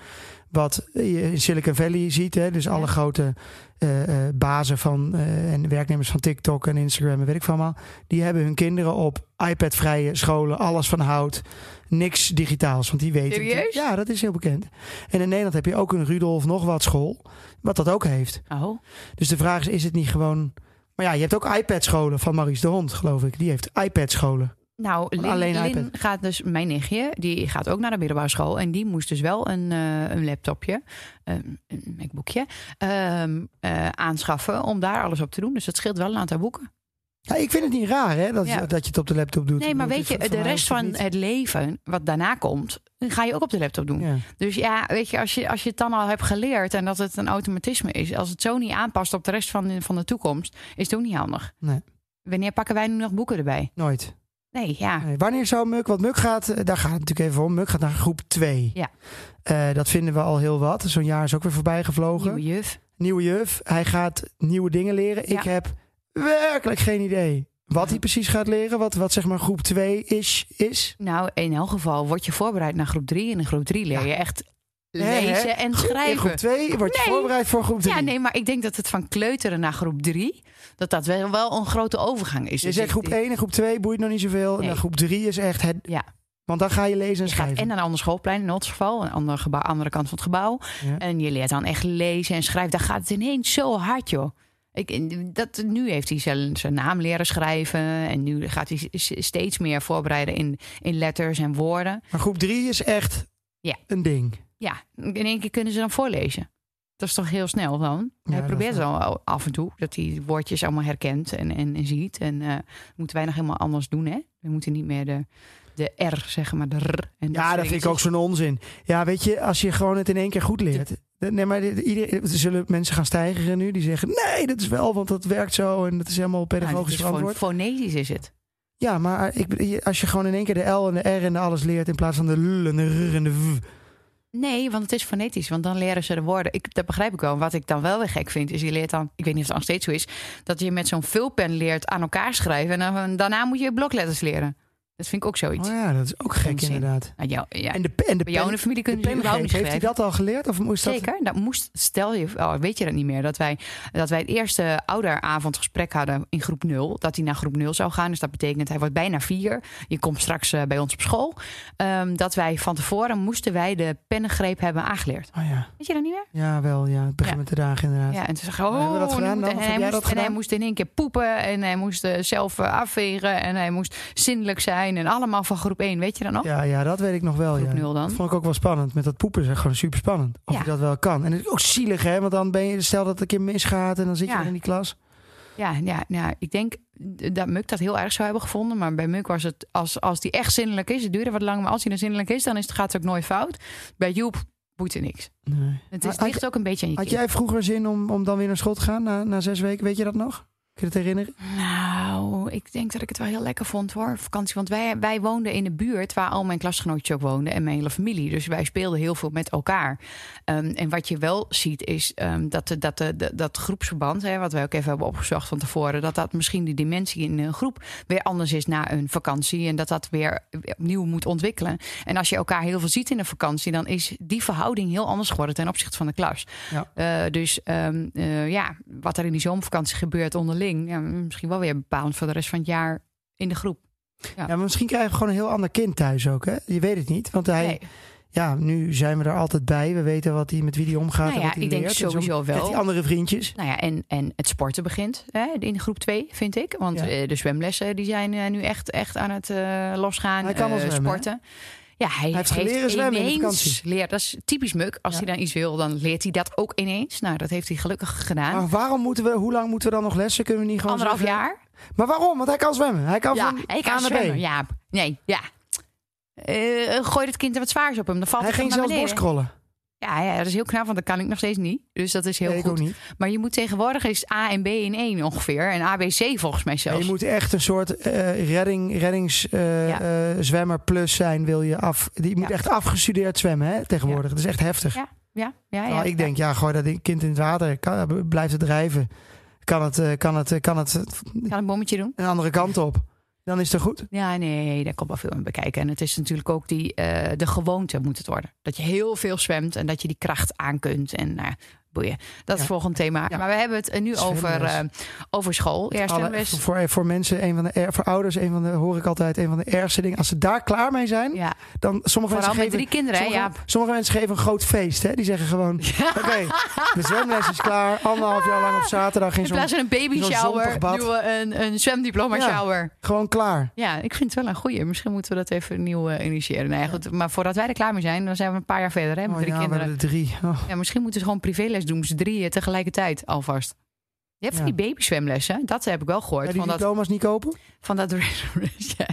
S1: Wat je in Silicon Valley ziet, hè, dus alle
S2: Ja.
S1: grote eh, eh, bazen van eh, en werknemers van TikTok en Instagram en weet ik van allemaal. Die hebben hun kinderen op iPad-vrije scholen, alles van hout, niks digitaals. Want die weten.
S2: Serieus?
S1: Ja, dat is heel bekend. En in Nederland heb je ook een Rudolf nog wat school, wat dat ook heeft.
S2: Oh,
S1: Dus de vraag is, is het niet gewoon. Maar ja, je hebt ook iPad-scholen van Maurice de Hond, geloof ik. Die heeft iPad-scholen.
S2: Nou, Lin,
S1: alleen
S2: Lin
S1: iPad.
S2: gaat dus, mijn nichtje, die gaat ook naar de middelbare school. En die moest dus wel een, eh, een laptopje, een een MacBookje, ehm, eh, aanschaffen om daar alles op te doen. Dus dat scheelt wel een aantal boeken.
S1: Ja, Nou, ik vind het niet raar hè, dat,
S2: Ja.
S1: dat je het op de laptop doet.
S2: Nee,
S1: Ik
S2: maar
S1: bedoel,
S2: weet je,
S1: het- voor
S2: de
S1: mij
S2: rest
S1: hoeft het
S2: van
S1: niet.
S2: het leven, wat daarna komt, ga je ook op de laptop doen.
S1: Ja.
S2: Dus ja, weet je als, je, als je het dan al hebt geleerd en dat het een automatisme is, als het zo niet aanpast op de rest van, van de toekomst, is het ook niet handig.
S1: Nee.
S2: Wanneer pakken wij nu nog boeken erbij?
S1: Nooit.
S2: Nee, ja.
S1: Nee. Wanneer zou Muk, want Muk gaat, eh, daar gaat het natuurlijk even om, Muk gaat naar groep 2.
S2: Ja.
S1: Eh, dat vinden we al heel wat. Zo'n jaar is ook weer voorbij gevlogen.
S2: Nieuwe juf.
S1: Nieuwe juf, hij gaat nieuwe dingen leren. Ik
S2: Ja.
S1: heb werkelijk geen idee wat hij precies gaat leren. Wat, wat zeg maar groep 2 is. is.
S2: Nou, in elk geval word je voorbereid naar groep 3. En in groep 3 leer je echt lezen
S1: Hè, hè?
S2: en
S1: Groep- In groep
S2: schrijven.
S1: 2 word je
S2: Nee.
S1: voorbereid voor groep 3.
S2: Ja, nee, maar ik denk dat het van kleuteren naar groep 3... dat dat wel, wel een grote overgang is.
S1: Je
S2: Dus
S1: zegt
S2: ik-
S1: groep 1 en groep 2 boeit nog niet zoveel. En
S2: Nee.
S1: dan groep 3 is echt het.
S2: Ja.
S1: Want dan ga je lezen en
S2: Je gaat
S1: schrijven.
S2: en naar een ander schoolplein in ons geval, een ander gebouw, andere kant van het gebouw.
S1: Ja.
S2: En je leert dan echt lezen en schrijven. Daar gaat het ineens zo hard, joh. Ik, dat, nu heeft hij zijn, zijn naam leren schrijven. En nu gaat hij s- steeds meer voorbereiden in, in letters en woorden.
S1: Maar groep 3 is echt
S2: Ja.
S1: een ding.
S2: Ja, in één keer kunnen ze dan voorlezen. Dat is toch heel snel dan?
S1: Ja,
S2: hij
S1: dat
S2: probeert
S1: is wel-
S2: wel af en toe dat hij woordjes allemaal herkent en, en, en ziet. En eh moeten wij nog helemaal anders doen, hè? We moeten niet meer de, de R, zeg maar, de R. En
S1: Ja, dat vind ik ook zo'n onzin. Ja, weet je, als je gewoon het in één keer goed leert. Nee, maar dit- ieder, er zullen mensen gaan stijgen nu die zeggen... nee, dat is wel, want dat werkt zo en dat is helemaal pedagogisch
S2: Nou, gewoon
S1: verantwoord.
S2: Fonetisch is het.
S1: Ja, maar eh, ik, be- als je gewoon in één keer de L en de R en de alles leert... in plaats van de L en de R en de V.
S2: Nee, want het is fonetisch. Want dan leren ze de woorden. Ik, dat begrijp ik wel. Wat ik dan wel weer gek vind, is je leert dan... Ik weet niet of het nog steeds zo is... dat je met zo'n vulpen leert aan elkaar schrijven... en dan, daarna moet je blokletters leren. Dat vind ik ook zoiets.
S1: Oh ja, dat is ook gek
S2: Onzin.
S1: inderdaad.
S2: Nou, jou- ja,
S1: En de, pe- en de
S2: Bij jou in
S1: pen,
S2: de familie
S1: de
S2: kunnen ze überhaupt niet
S1: pengreep, heeft hij
S2: schrijven.
S1: dat al geleerd? Of moest dat...
S2: Zeker. Dat moest, stel je, oh, weet je dat niet meer? Dat wij, dat wij het eerste ouderavondgesprek hadden in groep 0. Dat hij naar groep 0 zou gaan. Dus dat betekent hij wordt bijna 4. Je komt straks eh, bij ons op school. Ehm, dat wij van tevoren moesten wij de pennengreep hebben aangeleerd.
S1: Oh ja,
S2: Weet je dat niet meer?
S1: ja wel, ja. Het begint
S2: Ja.
S1: met de dagen inderdaad.
S2: Ja, en toen zag ik, oh,
S1: Hebben we dat
S2: nu
S1: gedaan
S2: moet-
S1: dan?
S2: en,
S1: Of
S2: hij
S1: heb jij
S2: moest,
S1: dat
S2: en hij
S1: gedaan?
S2: moest in één keer poepen en hij moest eh, zelf eh, afvegen en hij moest zinnelijk zijn en allemaal van groep 1, weet je dat nog?
S1: Ja, ja, dat weet ik nog wel.
S2: Groep
S1: ja.
S2: nul dan?
S1: Dat vond ik ook wel spannend. Met dat poepen zeg gewoon super spannend. Of
S2: Ja.
S1: je dat wel kan. En het is ook zielig, hè? Want dan ben je, stel dat het een keer misgaat en dan zit je
S2: Ja.
S1: weer in die klas.
S2: Ja, ja, ja, ik denk dat Muk dat heel erg zou hebben gevonden. Maar bij Muk was het, als, als die echt zinnelijk is, het duurde wat lang. Maar als hij dan zinnelijk is, dan is het, gaat het ook nooit fout. Bij Joep boeit er niks.
S1: Nee.
S2: Het
S1: Maar
S2: is,
S1: had-
S2: ligt ook een beetje aan je
S1: Had
S2: kind.
S1: jij vroeger zin om, om dan weer naar school te gaan na, na zes weken? Weet je dat nog? Kun je het herinneren?
S2: Nou, ik denk dat ik het wel heel lekker vond hoor, op vakantie. Want wij, wij woonden in de buurt waar al mijn klasgenootjes ook woonden en mijn hele familie. Dus wij speelden heel veel met elkaar. Ehm, en wat je wel ziet is ehm, dat, de, dat, de, de- dat groepsverband, hè, wat wij ook even hebben opgezocht van tevoren, dat dat misschien de dimensie in een groep weer anders is na een vakantie. En dat dat weer opnieuw moet ontwikkelen. En als je elkaar heel veel ziet in een vakantie, dan is die verhouding heel anders geworden ten opzichte van de klas.
S1: Ja.
S2: Eh, dus ehm, eh, ja, wat er in die zomervakantie gebeurt onderling, ja, misschien wel weer bepalend voor de rest van het jaar in de groep.
S1: Ja, maar misschien krijgen we gewoon een heel ander kind thuis ook, hè? Je weet het niet, want hij...
S2: Nee.
S1: Ja, nu zijn we er altijd bij. We weten wat hij met dus wie hij omgaat
S2: Nou
S1: en
S2: ja,
S1: wat hij
S2: ik denk
S1: leert. En zo
S2: sowieso wel.
S1: krijgt hij andere vriendjes.
S2: Nou ja, en, en het sporten begint hè, in groep 2, vind ik. Want
S1: Ja.
S2: eh, de zwemlessen die zijn eh, nu echt, echt aan het eh, losgaan.
S1: Hij kan al
S2: eh,
S1: zwemmen,
S2: sporten. Ja, hij,
S1: heeft leren zwemmen in de
S2: ineens
S1: vakantie.
S2: leer- Dat is typisch Muk. Als
S1: Ja.
S2: hij dan iets wil, dan leert hij dat ook ineens. Nou, dat heeft hij gelukkig gedaan.
S1: Maar waarom moeten we, hoe lang moeten we dan nog lessen? Kunnen we niet gewoon
S2: Anderhalf
S1: zeggen-
S2: jaar.
S1: Maar waarom? Want hij kan zwemmen. Hij kan
S2: Ja,
S1: Oh, van
S2: ik
S1: A
S2: kan
S1: naar B.
S2: zwemmen. Ja, nee, ja. Eh, gooi het kind er wat zwaars op hem. Dan valt
S1: Hij
S2: het
S1: ging
S2: naar
S1: zelfs
S2: beneden.
S1: borstkrollen.
S2: Ja, ja, dat is heel knap, want dat kan ik nog steeds niet. Dus dat is heel
S1: Nee, ik ook
S2: goed.
S1: niet.
S2: Maar je moet tegenwoordig is A en B in één ongeveer. En ABC volgens mij zelfs.
S1: Je moet echt een soort eh redding,
S2: Ja.
S1: reddingszwemmer plus zijn, wil je af. Die moet
S2: Ja.
S1: echt afgestudeerd zwemmen hè, tegenwoordig. Dat is echt heftig.
S2: Ja, ja, ja. ja.
S1: Nou, ik denk, ja, gooi dat kind in het water. Kan, eh, blijft het drijven. Kan het, eh, kan, het, eh, kan het
S2: Kan een bommetje doen?
S1: een andere kant op. Dan is het goed.
S2: Ja, nee, daar komt wel veel in bekijken. En het is natuurlijk ook die, eh, de gewoonte moet het worden. Dat je heel veel zwemt en dat je die kracht aan kunt. En nou, ja, boeien. Dat is
S1: Ja.
S2: het volgende thema.
S1: Ja.
S2: Maar we hebben het eh, nu over,
S1: Zwemles.
S2: eh, over school. Ja,
S1: Alle-
S2: zwemles.
S1: voor, eh, voor mensen, een van de, er- voor ouders, een van de, hoor ik altijd, een van de ergste dingen. Als ze daar klaar mee zijn,
S2: Ja,
S1: dan sommige
S2: vooral
S1: mensen
S2: met
S1: geven,
S2: drie kinderen, hè,
S1: sommige,
S2: Jaap.
S1: sommige mensen geven een groot feest. Hè? Die zeggen gewoon, oké, de zwemles is klaar. Anderhalf jaar lang op zaterdag in
S2: In
S1: zo'n...
S2: plaats van een baby
S1: zo'n
S2: shower,
S1: zompig bad.
S2: doen we een, een zwemdiploma
S1: Ja.
S2: shower.
S1: Gewoon klaar.
S2: Ja, ik vind het wel een goeie. Misschien moeten we dat even opnieuw eh, initiëren. Nou ja, goed, maar voordat wij er klaar mee zijn, dan zijn we een paar jaar verder hè, met
S1: Oh
S2: drie
S1: ja, we
S2: kinderen.
S1: hebben er drie. Oh,
S2: Ja, misschien moeten ze gewoon privéles doen, ze drieën tegelijkertijd alvast. Je hebt van
S1: Ja.
S2: die babyzwemlessen, dat heb ik wel gehoord.
S1: ja, die
S2: van, dat,
S1: diploma's niet kopen?
S2: van dat ja.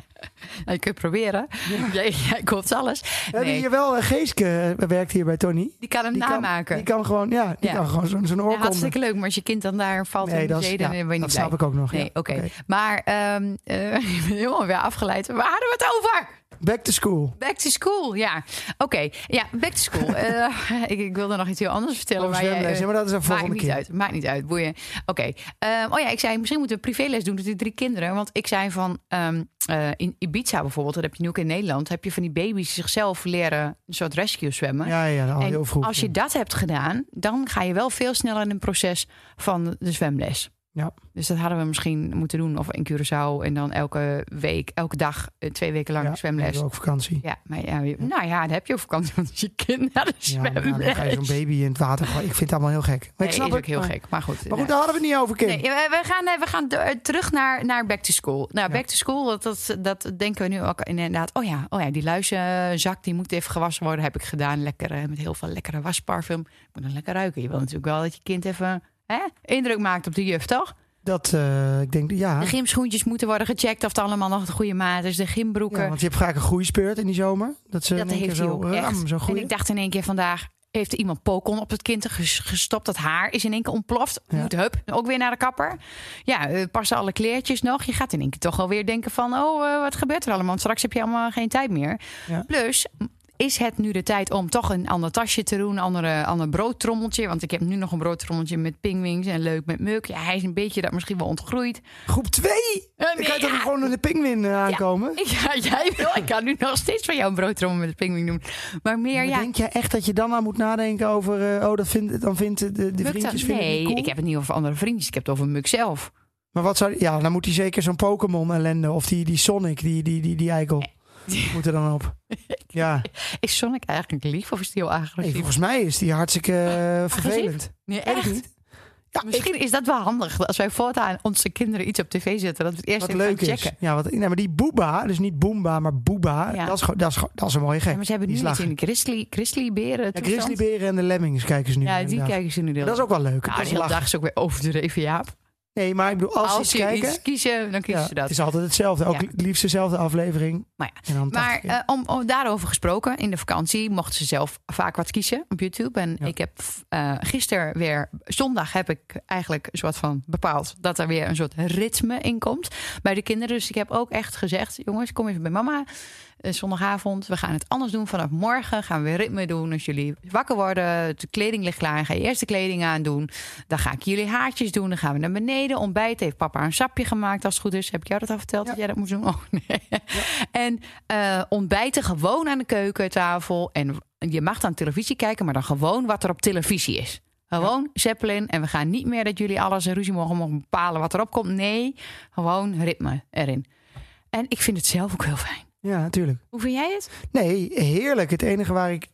S2: Nou, je kunt proberen. Jij, jij koopt alles.
S1: Hebben
S2: Nee,
S1: hier wel, eh, Geeske eh, werkt hier bij Tony.
S2: die kan hem
S1: Die kan-
S2: namaken.
S1: Die kan gewoon, ja, die
S2: Ja.
S1: kan gewoon zo'n zo'n
S2: Ja,
S1: oorkonde.
S2: hartstikke leuk, maar als je kind dan daar valt in de
S1: dat, is-
S2: zee,
S1: ja,
S2: dan ben je
S1: dat
S2: niet blij.
S1: snap ik ook nog. ja.
S2: Nee, oké. Maar ehm, eh, ik ben helemaal weer afgeleid. Waar hadden we het over?
S1: Back to school.
S2: Back to school, ja. Oké, ja, back to school. Eh, ik, ik wilde nog iets heel anders vertellen.
S1: Over
S2: maar jij,
S1: zwemles.
S2: eh,
S1: Ja, maar dat is een
S2: Maakt
S1: volgende
S2: niet
S1: keer.
S2: uit, maakt niet uit, boeien. Oké, ehm, oh ja, ik zei, misschien moeten we privéles doen met die drie kinderen. Want ik zei van, ehm, eh, in Ibiza bijvoorbeeld, dat heb je nu ook in Nederland... heb je van die baby's zichzelf leren een soort rescue zwemmen.
S1: Ja, ja, al
S2: en
S1: heel vroeg.
S2: als je dat hebt gedaan, dan ga je wel veel sneller in het proces van de zwemles.
S1: Ja.
S2: Dus dat hadden we misschien moeten doen. Of in Curaçao en dan elke week, elke dag, eh, twee weken lang
S1: Ja,
S2: zwemles.
S1: hebben we ook vakantie.
S2: Ja, maar ja, je- nou ja, dan heb je op vakantie, want als je kind naar de
S1: Ja, maar ja, dan ga je zo'n
S2: zwemles.
S1: baby in het water gooien. Ik vind het allemaal heel gek. Maar
S2: Nee,
S1: ik snap
S2: is ook
S1: het.
S2: heel
S1: maar,
S2: gek, maar goed.
S1: Maar goed,
S2: nou.
S1: daar hadden we het niet over, kind.
S2: Nee, we we gaan, eh, we gaan eh, terug naar, naar back to school. Nou,
S1: Ja.
S2: back to school, dat, dat, dat denken we nu ook inderdaad. Oh ja, oh ja die luizenzak die moet even gewassen worden, heb ik gedaan. Lekker, eh, met heel veel lekkere wasparfum. Moet dan lekker ruiken. Je wil natuurlijk wel dat je kind even hè, indruk maakt op de juf, toch?
S1: Dat, eh, ik denk, ja.
S2: De gymschoentjes moeten worden gecheckt of het allemaal nog de goede maat is. De gymbroeken.
S1: Ja, want je hebt vaak een groeispeurt in die zomer. Dat ze
S2: dat
S1: in één keer
S2: heeft hij
S1: zo eh,
S2: ook
S1: ram,
S2: echt.
S1: zo
S2: en
S1: groeien.
S2: ik dacht in één keer vandaag... heeft er iemand pokon op het kind ges- gestopt. Dat haar is in één keer ontploft.
S1: Ja.
S2: Moet hup, ook weer naar de kapper. Ja, eh, passen alle kleertjes nog. Je gaat in één keer toch alweer denken van... oh, eh, wat gebeurt er allemaal? Want straks heb je allemaal geen tijd meer.
S1: Ja.
S2: Plus... m- Is het nu de tijd om toch een ander tasje te doen? Een andere, ander broodtrommeltje? Want ik heb nu nog een broodtrommeltje met pingwings en leuk met muk. Ja, hij is een beetje dat misschien wel ontgroeid.
S1: Groep 2!
S2: Eh,
S1: Dan kan je
S2: ja.
S1: toch gewoon in de pinguïn eh, aankomen?
S2: Ja, jij wil. Ik kan nu nog steeds van jou een broodtrommel met een pingwing doen. Maar meer,
S1: Maar
S2: ja.
S1: Denk jij echt dat je dan aan moet nadenken over... eh, oh, dat vindt dan vindt de, de
S2: Lukt dat?
S1: vriendjes vinden het
S2: Nee,
S1: niet cool?
S2: ik heb het niet over andere vriendjes. Ik heb het over Muk zelf.
S1: Maar wat zou... Ja, dan moet hij zeker zo'n Pokémon ellende... of die, die Sonic, die, die, die, die eikel. Moet er dan op. Ja,
S2: Is Sonic eigenlijk lief of is die heel
S1: Nee,
S2: agressief?
S1: volgens mij is die hartstikke eh, vervelend.
S2: nee,
S1: Weet ik
S2: Ah, echt.
S1: niet. Ja, ik-
S2: Misschien is dat wel handig. Als wij voortaan onze kinderen iets op tv zetten, dat we het eerst
S1: wat
S2: even
S1: leuk
S2: gaan
S1: is.
S2: checken.
S1: Ja, wat, nee, maar die Booba, dus niet Boomba, maar Booba,
S2: Ja.
S1: dat, is, gewoon- dat, is, gewoon- dat is een mooie gek.
S2: Ja, maar ze hebben nu
S1: die is
S2: iets
S1: lachen.
S2: in de grizzly, grizzlyberen
S1: Ja,
S2: toestand.
S1: grizzlyberen en de lemmings kijken ze nu.
S2: Ja, die
S1: inderdaad.
S2: kijken ze nu heel
S1: Dat is ook wel leuk.
S2: Nou,
S1: dat
S2: de
S1: is
S2: hele
S1: lachen.
S2: dag is ook weer overdreven, Jaap.
S1: Nee, maar ik bedoel, als,
S2: Als,
S1: ze iets
S2: ze
S1: kijken...
S2: iets kiezen, dan kiezen
S1: ja,
S2: ze
S1: het
S2: dat.
S1: is altijd hetzelfde. Ook
S2: Ja.
S1: het liefst dezelfde aflevering.
S2: Maar
S1: En dan 80
S2: Maar
S1: keer.
S2: eh, om, om daarover gesproken, in de vakantie mochten ze zelf vaak wat kiezen op YouTube. En
S1: Ja.
S2: ik heb eh gisteren weer, zondag heb ik eigenlijk een soort van bepaald dat er weer een soort ritme in komt bij de kinderen. Dus ik heb ook echt gezegd, jongens, kom even bij mama. Eh, zondagavond, we gaan het anders doen. Vanaf morgen gaan we weer ritme doen. Als jullie wakker worden, de kleding ligt klaar, ga je eerst de kleding aandoen. Dan ga ik jullie haartjes doen, dan gaan we naar beneden ontbijten. Heeft papa een sapje gemaakt als het goed is. Heb ik jou dat al verteld dat jij dat moest doen? Oh nee. En eh, ontbijten gewoon aan de keukentafel. En je mag dan televisie kijken, maar dan gewoon wat er op televisie is. Gewoon Zeppelin. En we gaan niet meer dat jullie alles en ruzie mogen, mogen bepalen wat erop komt. Nee, gewoon ritme erin. En ik vind het zelf ook heel fijn.
S1: Ja, natuurlijk.
S2: Hoe vind jij het?
S1: Nee, heerlijk. Het enige waar ik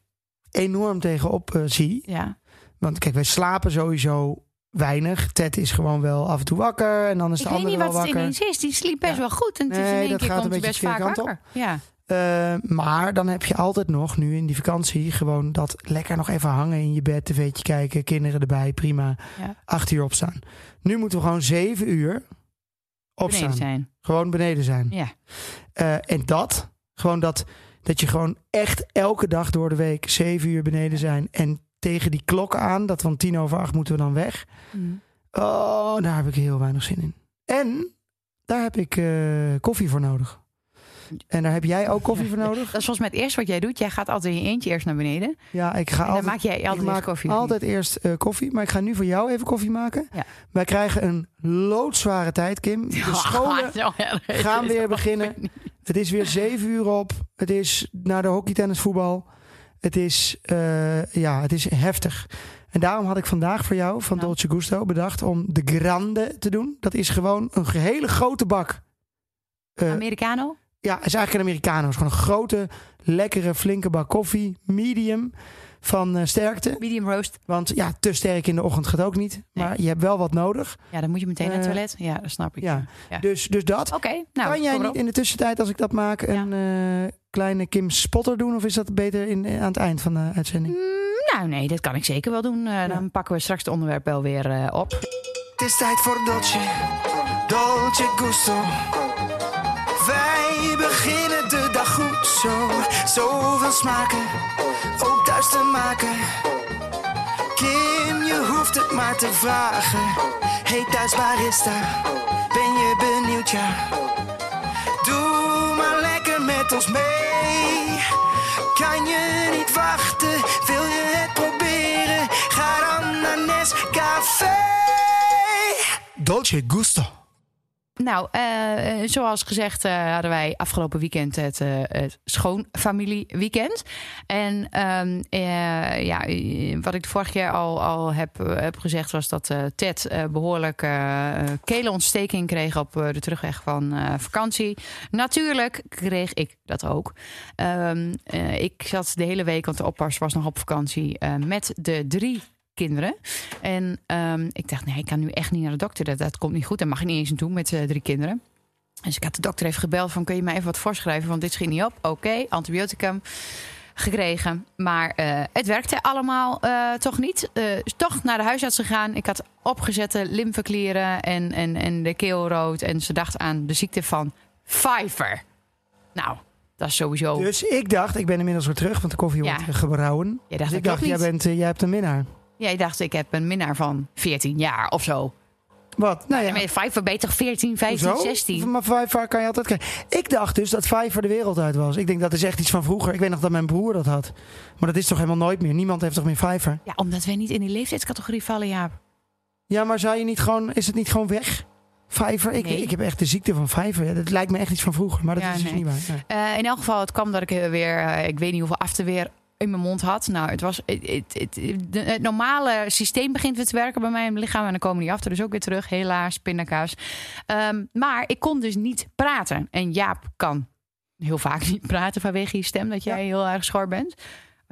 S1: enorm tegenop eh, zie...
S2: Ja.
S1: Want kijk, wij slapen sowieso weinig. Ted is gewoon wel af en toe wakker. En dan is
S2: Ik
S1: de
S2: weet
S1: andere
S2: niet
S1: wel
S2: wat het
S1: wakker.
S2: ineens is. Die sliep best
S1: Ja.
S2: wel goed. En het is
S1: Nee,
S2: in één
S1: dat
S2: keer
S1: gaat
S2: komt
S1: een
S2: hij
S1: beetje
S2: best vaak
S1: de verkeerde kant op.
S2: wakker. Ja.
S1: Eh, maar dan heb je altijd nog, nu in die vakantie, gewoon dat lekker nog even hangen in je bed, tv'tje kijken, kinderen erbij, prima.
S2: Ja.
S1: Acht uur opstaan. Nu moeten we gewoon zeven uur opstaan.
S2: Beneden zijn.
S1: Gewoon beneden zijn.
S2: Ja.
S1: Eh, en dat, gewoon dat, dat je gewoon echt elke dag door de week zeven uur beneden zijn. En tegen die klok aan, dat van tien over acht moeten we dan weg.
S2: Mm.
S1: Oh, daar heb ik heel weinig zin in. En daar heb ik eh, koffie voor nodig. En daar heb jij ook koffie voor nodig?
S2: Dat is volgens mij het eerste wat jij doet. Jij gaat altijd in je eentje eerst naar beneden. En
S1: Ja, ik ga
S2: dan
S1: altijd,
S2: maak jij altijd
S1: ik
S2: eerst
S1: maak
S2: koffie. of niet?
S1: altijd eerst eh, koffie. Maar ik ga nu voor jou even koffie maken.
S2: Ja.
S1: Wij krijgen een loodzware tijd, Kim. De scholen
S2: Zo erg is
S1: gaan
S2: het
S1: weer
S2: ook
S1: beginnen.
S2: niet.
S1: Het is weer zeven uur op. Het is naar de hockey, tennis, voetbal. Het is, eh, ja, het is heftig. En daarom had ik vandaag voor jou van
S2: Ja.
S1: Dolce Gusto bedacht om de grande te doen. Dat is gewoon een hele grote bak. Eh,
S2: Americano?
S1: ja, het is eigenlijk een Americano. Het is gewoon een grote, lekkere, flinke bak koffie. Medium van eh, sterkte.
S2: Medium roast.
S1: Want ja, te sterk in de ochtend gaat ook niet. Maar
S2: Nee.
S1: je hebt wel wat nodig.
S2: Ja, dan moet je meteen naar het
S1: Eh,
S2: toilet. Ja, dat snap ik.
S1: Ja.
S2: Ja.
S1: Dus, dus dat.
S2: Oké, nou.
S1: kan jij niet
S2: kom erop.
S1: in de tussentijd, als ik dat maak, een eh, kleine Kim Spotter doen? Of is dat beter in, eh, aan het eind van de uitzending?
S2: Mm, nou, nee, dat kan ik zeker wel doen. Eh, Dan pakken we straks het onderwerp wel weer eh, op.
S3: Het is tijd voor Dolce, Dolce Gusto. Wij beginnen de dag goed zo. Zoveel smaken, ook thuis te maken. Kim, je hoeft het maar te vragen. Hey thuis barista, ben je benieuwd ja? Doe maar lekker met ons mee. Kan je niet wachten? Wil je het proberen? Ga dan naar Nescafé.
S1: Dolce Gusto.
S2: Nou, eh, eh, zoals gezegd eh, hadden wij afgelopen weekend het, eh, het schoonfamilieweekend. En ehm, eh, ja, eh, wat ik vorig jaar al, al heb, eh, heb gezegd was dat eh, Ted eh, behoorlijk eh eh, kelenontsteking kreeg op eh, de terugweg van eh, vakantie. Natuurlijk kreeg ik dat ook. Ehm, eh, ik zat de hele week, want de oppas was nog op vakantie, eh, met de drie kinderen. En ehm, ik dacht, nee, ik kan nu echt niet naar de dokter. Dat, dat komt niet goed. Daar mag je niet eens aan toe met eh, drie kinderen. Dus ik had de dokter even gebeld van... kun je mij even wat voorschrijven, want dit schiet niet op. Oké, antibioticum gekregen. Maar eh, het werkte allemaal eh, toch niet. Eh, is toch naar de huisarts gegaan. Ik had opgezette lymfeklieren en, en, en de keel rood. En ze dacht aan de ziekte van Pfeiffer. Nou, dat is sowieso...
S1: Dus ik dacht, ik ben inmiddels weer terug, want de koffie
S2: Ja.
S1: wordt eh, gebrouwen.
S2: Jij
S1: dus
S2: dacht, dat
S1: ik dacht,
S2: klopt
S1: jij,
S2: niet.
S1: bent, eh, jij hebt een minnaar.
S2: Jij dacht, ik heb een minnaar van 14 jaar of zo.
S1: Wat? Nou ja,
S2: Maar Pfeiffer beter 14, 15,
S1: hoezo?
S2: 16.
S1: Maar Vijver kan je altijd krijgen. Ik dacht dus dat Vijver de wereld uit was. Ik denk, dat is echt iets van vroeger. Ik weet nog dat mijn broer dat had. Maar dat is toch helemaal nooit meer. Niemand heeft toch meer Vijver?
S2: Ja, omdat wij niet in die leeftijdscategorie vallen, Jaap.
S1: Ja, maar zou je niet gewoon, is het niet gewoon weg? Vijver? Ik,
S2: Nee.
S1: ik heb echt de ziekte van Vijver. Dat lijkt me echt iets van vroeger, maar dat
S2: Ja,
S1: is dus
S2: nee.
S1: niet waar. Ja.
S2: Eh, in elk geval, het kwam dat ik eh, weer, eh, ik weet niet hoeveel af te weer in mijn mond had. Nou, het was het, het, het- de- het normale systeem begint weer te werken bij mijn lichaam en dan komen die after dus ook weer terug. Helaas, pindakaas. Ehm, maar ik kon dus niet praten en Jaap kan heel vaak niet praten vanwege je stem dat jij heel erg schor bent.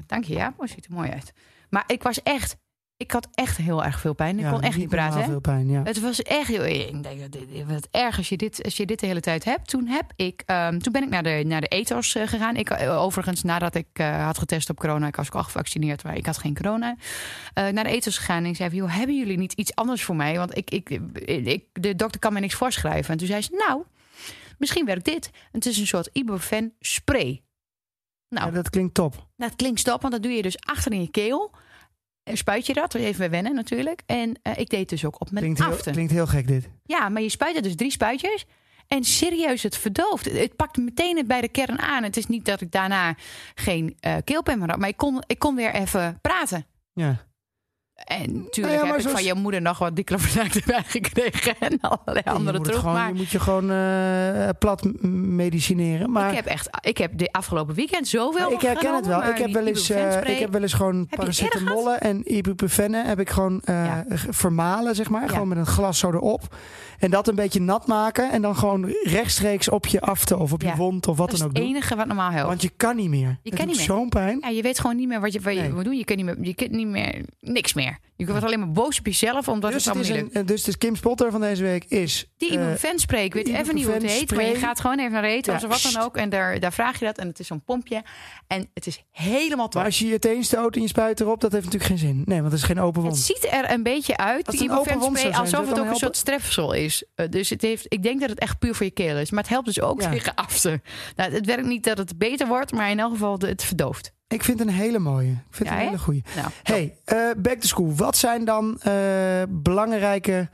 S2: Dank je, Jaap. Oh, ziet er mooi uit. Maar ik was echt Ik had echt heel erg veel pijn. Ik
S1: Ja,
S2: kon echt niet
S1: normaal
S2: praten. hè?
S1: veel pijn, ja.
S2: Het was echt heel. Ik denk, dat dit- dit- wat erg als je, dit, als je dit de hele tijd hebt. Toen, heb ik, ehm, toen ben ik naar de, naar de ethos eh, gegaan. Ik, eh, overigens, nadat ik eh, had getest op corona, ik was ook al gevaccineerd, maar ik had geen corona. eh, naar de ethos gegaan en ik zei: van, Joh, hebben jullie niet iets anders voor mij? Want ik, ik, ik, de dokter kan mij niks voorschrijven. En toen zei ze: Nou, misschien werkt dit. Het is een soort ibuprofen spray. Nou,
S1: Ja, dat klinkt top.
S2: dat klinkt stop, want dat doe je dus achter in je keel. En spuit je dat, even bij wennen natuurlijk. En eh, ik deed het dus ook op mijn
S1: Klinkt heel,
S2: aften.
S1: klinkt heel gek dit.
S2: Ja, maar je spuit er dus drie spuitjes. En serieus, het verdooft. Het pakt meteen het bij de kern aan. Het is niet dat ik daarna geen eh keelpijn meer had. Maar ik kon, ik kon weer even praten.
S1: Ja.
S2: En
S1: Nou
S2: natuurlijk
S1: ja, maar
S2: heb ik
S1: zoals-
S2: van je moeder nog wat diclofenac erbij gekregen. En allerlei andere
S1: je, moet het
S2: troep.
S1: gewoon,
S2: maar
S1: je moet je gewoon eh, plat m- medicineren. Maar
S2: ik heb echt... Ik heb de afgelopen weekend zoveel
S1: ik herken het wel. Ik heb wel, eens, eh, ik heb wel eens gewoon
S2: eerder gehad?
S1: paracetamollen en ibuprofennen heb ik gewoon eh,
S2: Ja.
S1: ge- vermalen, zeg maar.
S2: Ja.
S1: Gewoon met een glas zo erop. En dat een beetje nat maken. En dan gewoon rechtstreeks op je afte of op
S2: Ja.
S1: je wond of
S2: Dat
S1: wat
S2: is
S1: dan
S2: het
S1: ook doen.
S2: enige wat normaal helpt.
S1: Want je kan niet meer.
S2: Oh. Je
S1: Het
S2: kan
S1: doet
S2: niet meer.
S1: zo'n pijn.
S2: Ja, je weet gewoon niet meer wat je, wat je
S1: Nee.
S2: moet doen. Je kunt, niet meer, je kunt niet meer... Niks meer. Je wordt alleen maar boos op jezelf omdat
S1: dus, het
S2: het allemaal
S1: is
S2: niet
S1: een,
S2: lukt.
S1: eh, dus de Kim Spotter van deze week is...
S2: Die
S1: eh,
S2: ibuprofen spray, ik weet
S1: die
S2: even niet hoe het heet,
S1: ibuprofen
S2: maar je
S1: spray.
S2: gaat gewoon even naar eten
S1: Ja,
S2: of wat dan ook. En daar, daar vraag je dat en het is zo'n pompje. En het is helemaal
S1: maar
S2: top.
S1: als je je teen stoot en je spuit erop, dat heeft natuurlijk geen zin. Nee, want het is geen open
S2: Het
S1: wond.
S2: ziet er een beetje uit,
S1: Als
S2: die
S1: het een open
S2: ibuprofen
S1: wond
S2: spray,
S1: zou zijn,
S2: alsof
S1: zou
S2: het
S1: het
S2: ook
S1: dan
S2: een soort strepsel is. Eh, Dus het heeft, ik denk dat het echt puur voor je keel is. Maar het helpt dus ook
S1: Ja.
S2: tegen after. Nou, het werkt niet dat het beter wordt, maar in elk geval de- het verdooft.
S1: Ik vind het een hele mooie. Ik vind het
S2: Ja,
S1: een
S2: hè?
S1: hele goeie.
S2: Nou,
S1: Hey, eh, back to school. Wat zijn dan eh, belangrijke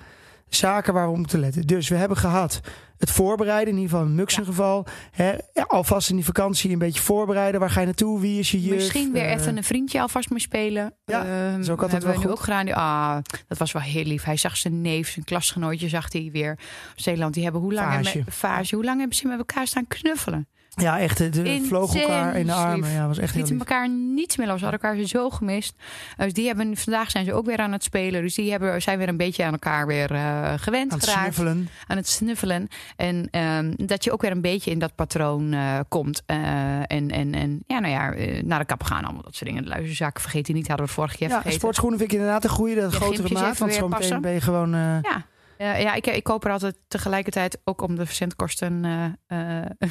S1: zaken waar we op moeten letten? Dus we hebben gehad het voorbereiden, in ieder geval in Muxen geval. Hè, ja, alvast in die vakantie een beetje voorbereiden. Waar ga je naartoe? Wie is je juf?
S2: Misschien weer
S1: Eh,
S2: even een vriendje alvast mee spelen.
S1: Ja,
S2: Ehm,
S1: is ook altijd
S2: hebben
S1: wel
S2: we nu
S1: goed.
S2: ook gedaan. Ah, dat was wel heel lief. Hij zag zijn neef, zijn klasgenootje zag hij weer op Zeeland. Die hebben hoe lang,
S1: Fase.
S2: hebben- fase, hoe lang hebben ze met elkaar staan knuffelen?
S1: Ja, echt. eh, De
S2: Intensief.
S1: vloog elkaar in de armen. Ja, was echt
S2: Ze
S1: heel
S2: lieten
S1: lief.
S2: elkaar niets meer los. Ze hadden elkaar zo gemist. Eh, Dus die hebben, vandaag zijn ze ook weer aan het spelen. Dus die hebben, zijn weer een beetje aan elkaar weer eh, gewend
S1: Aan het
S2: geraakt
S1: snuffelen.
S2: aan het snuffelen. En ehm, dat je ook weer een beetje in dat patroon eh, komt. Eh, en, en, en ja, nou ja, eh, naar de kapper gaan, allemaal dat soort dingen. De luizenzaak vergeet hij niet, hadden we vorig jaar
S1: Ja,
S2: vergeten.
S1: sportschoenen vind ik inderdaad een goede, dat
S2: Je
S1: grotere
S2: gimpjes
S1: maat.
S2: even
S1: Want
S2: weer
S1: zo meteen
S2: passen.
S1: ben je gewoon... eh,
S2: Ja. Eh, ja, ik, ik koop er altijd tegelijkertijd ook om de verzendkosten eh, eh,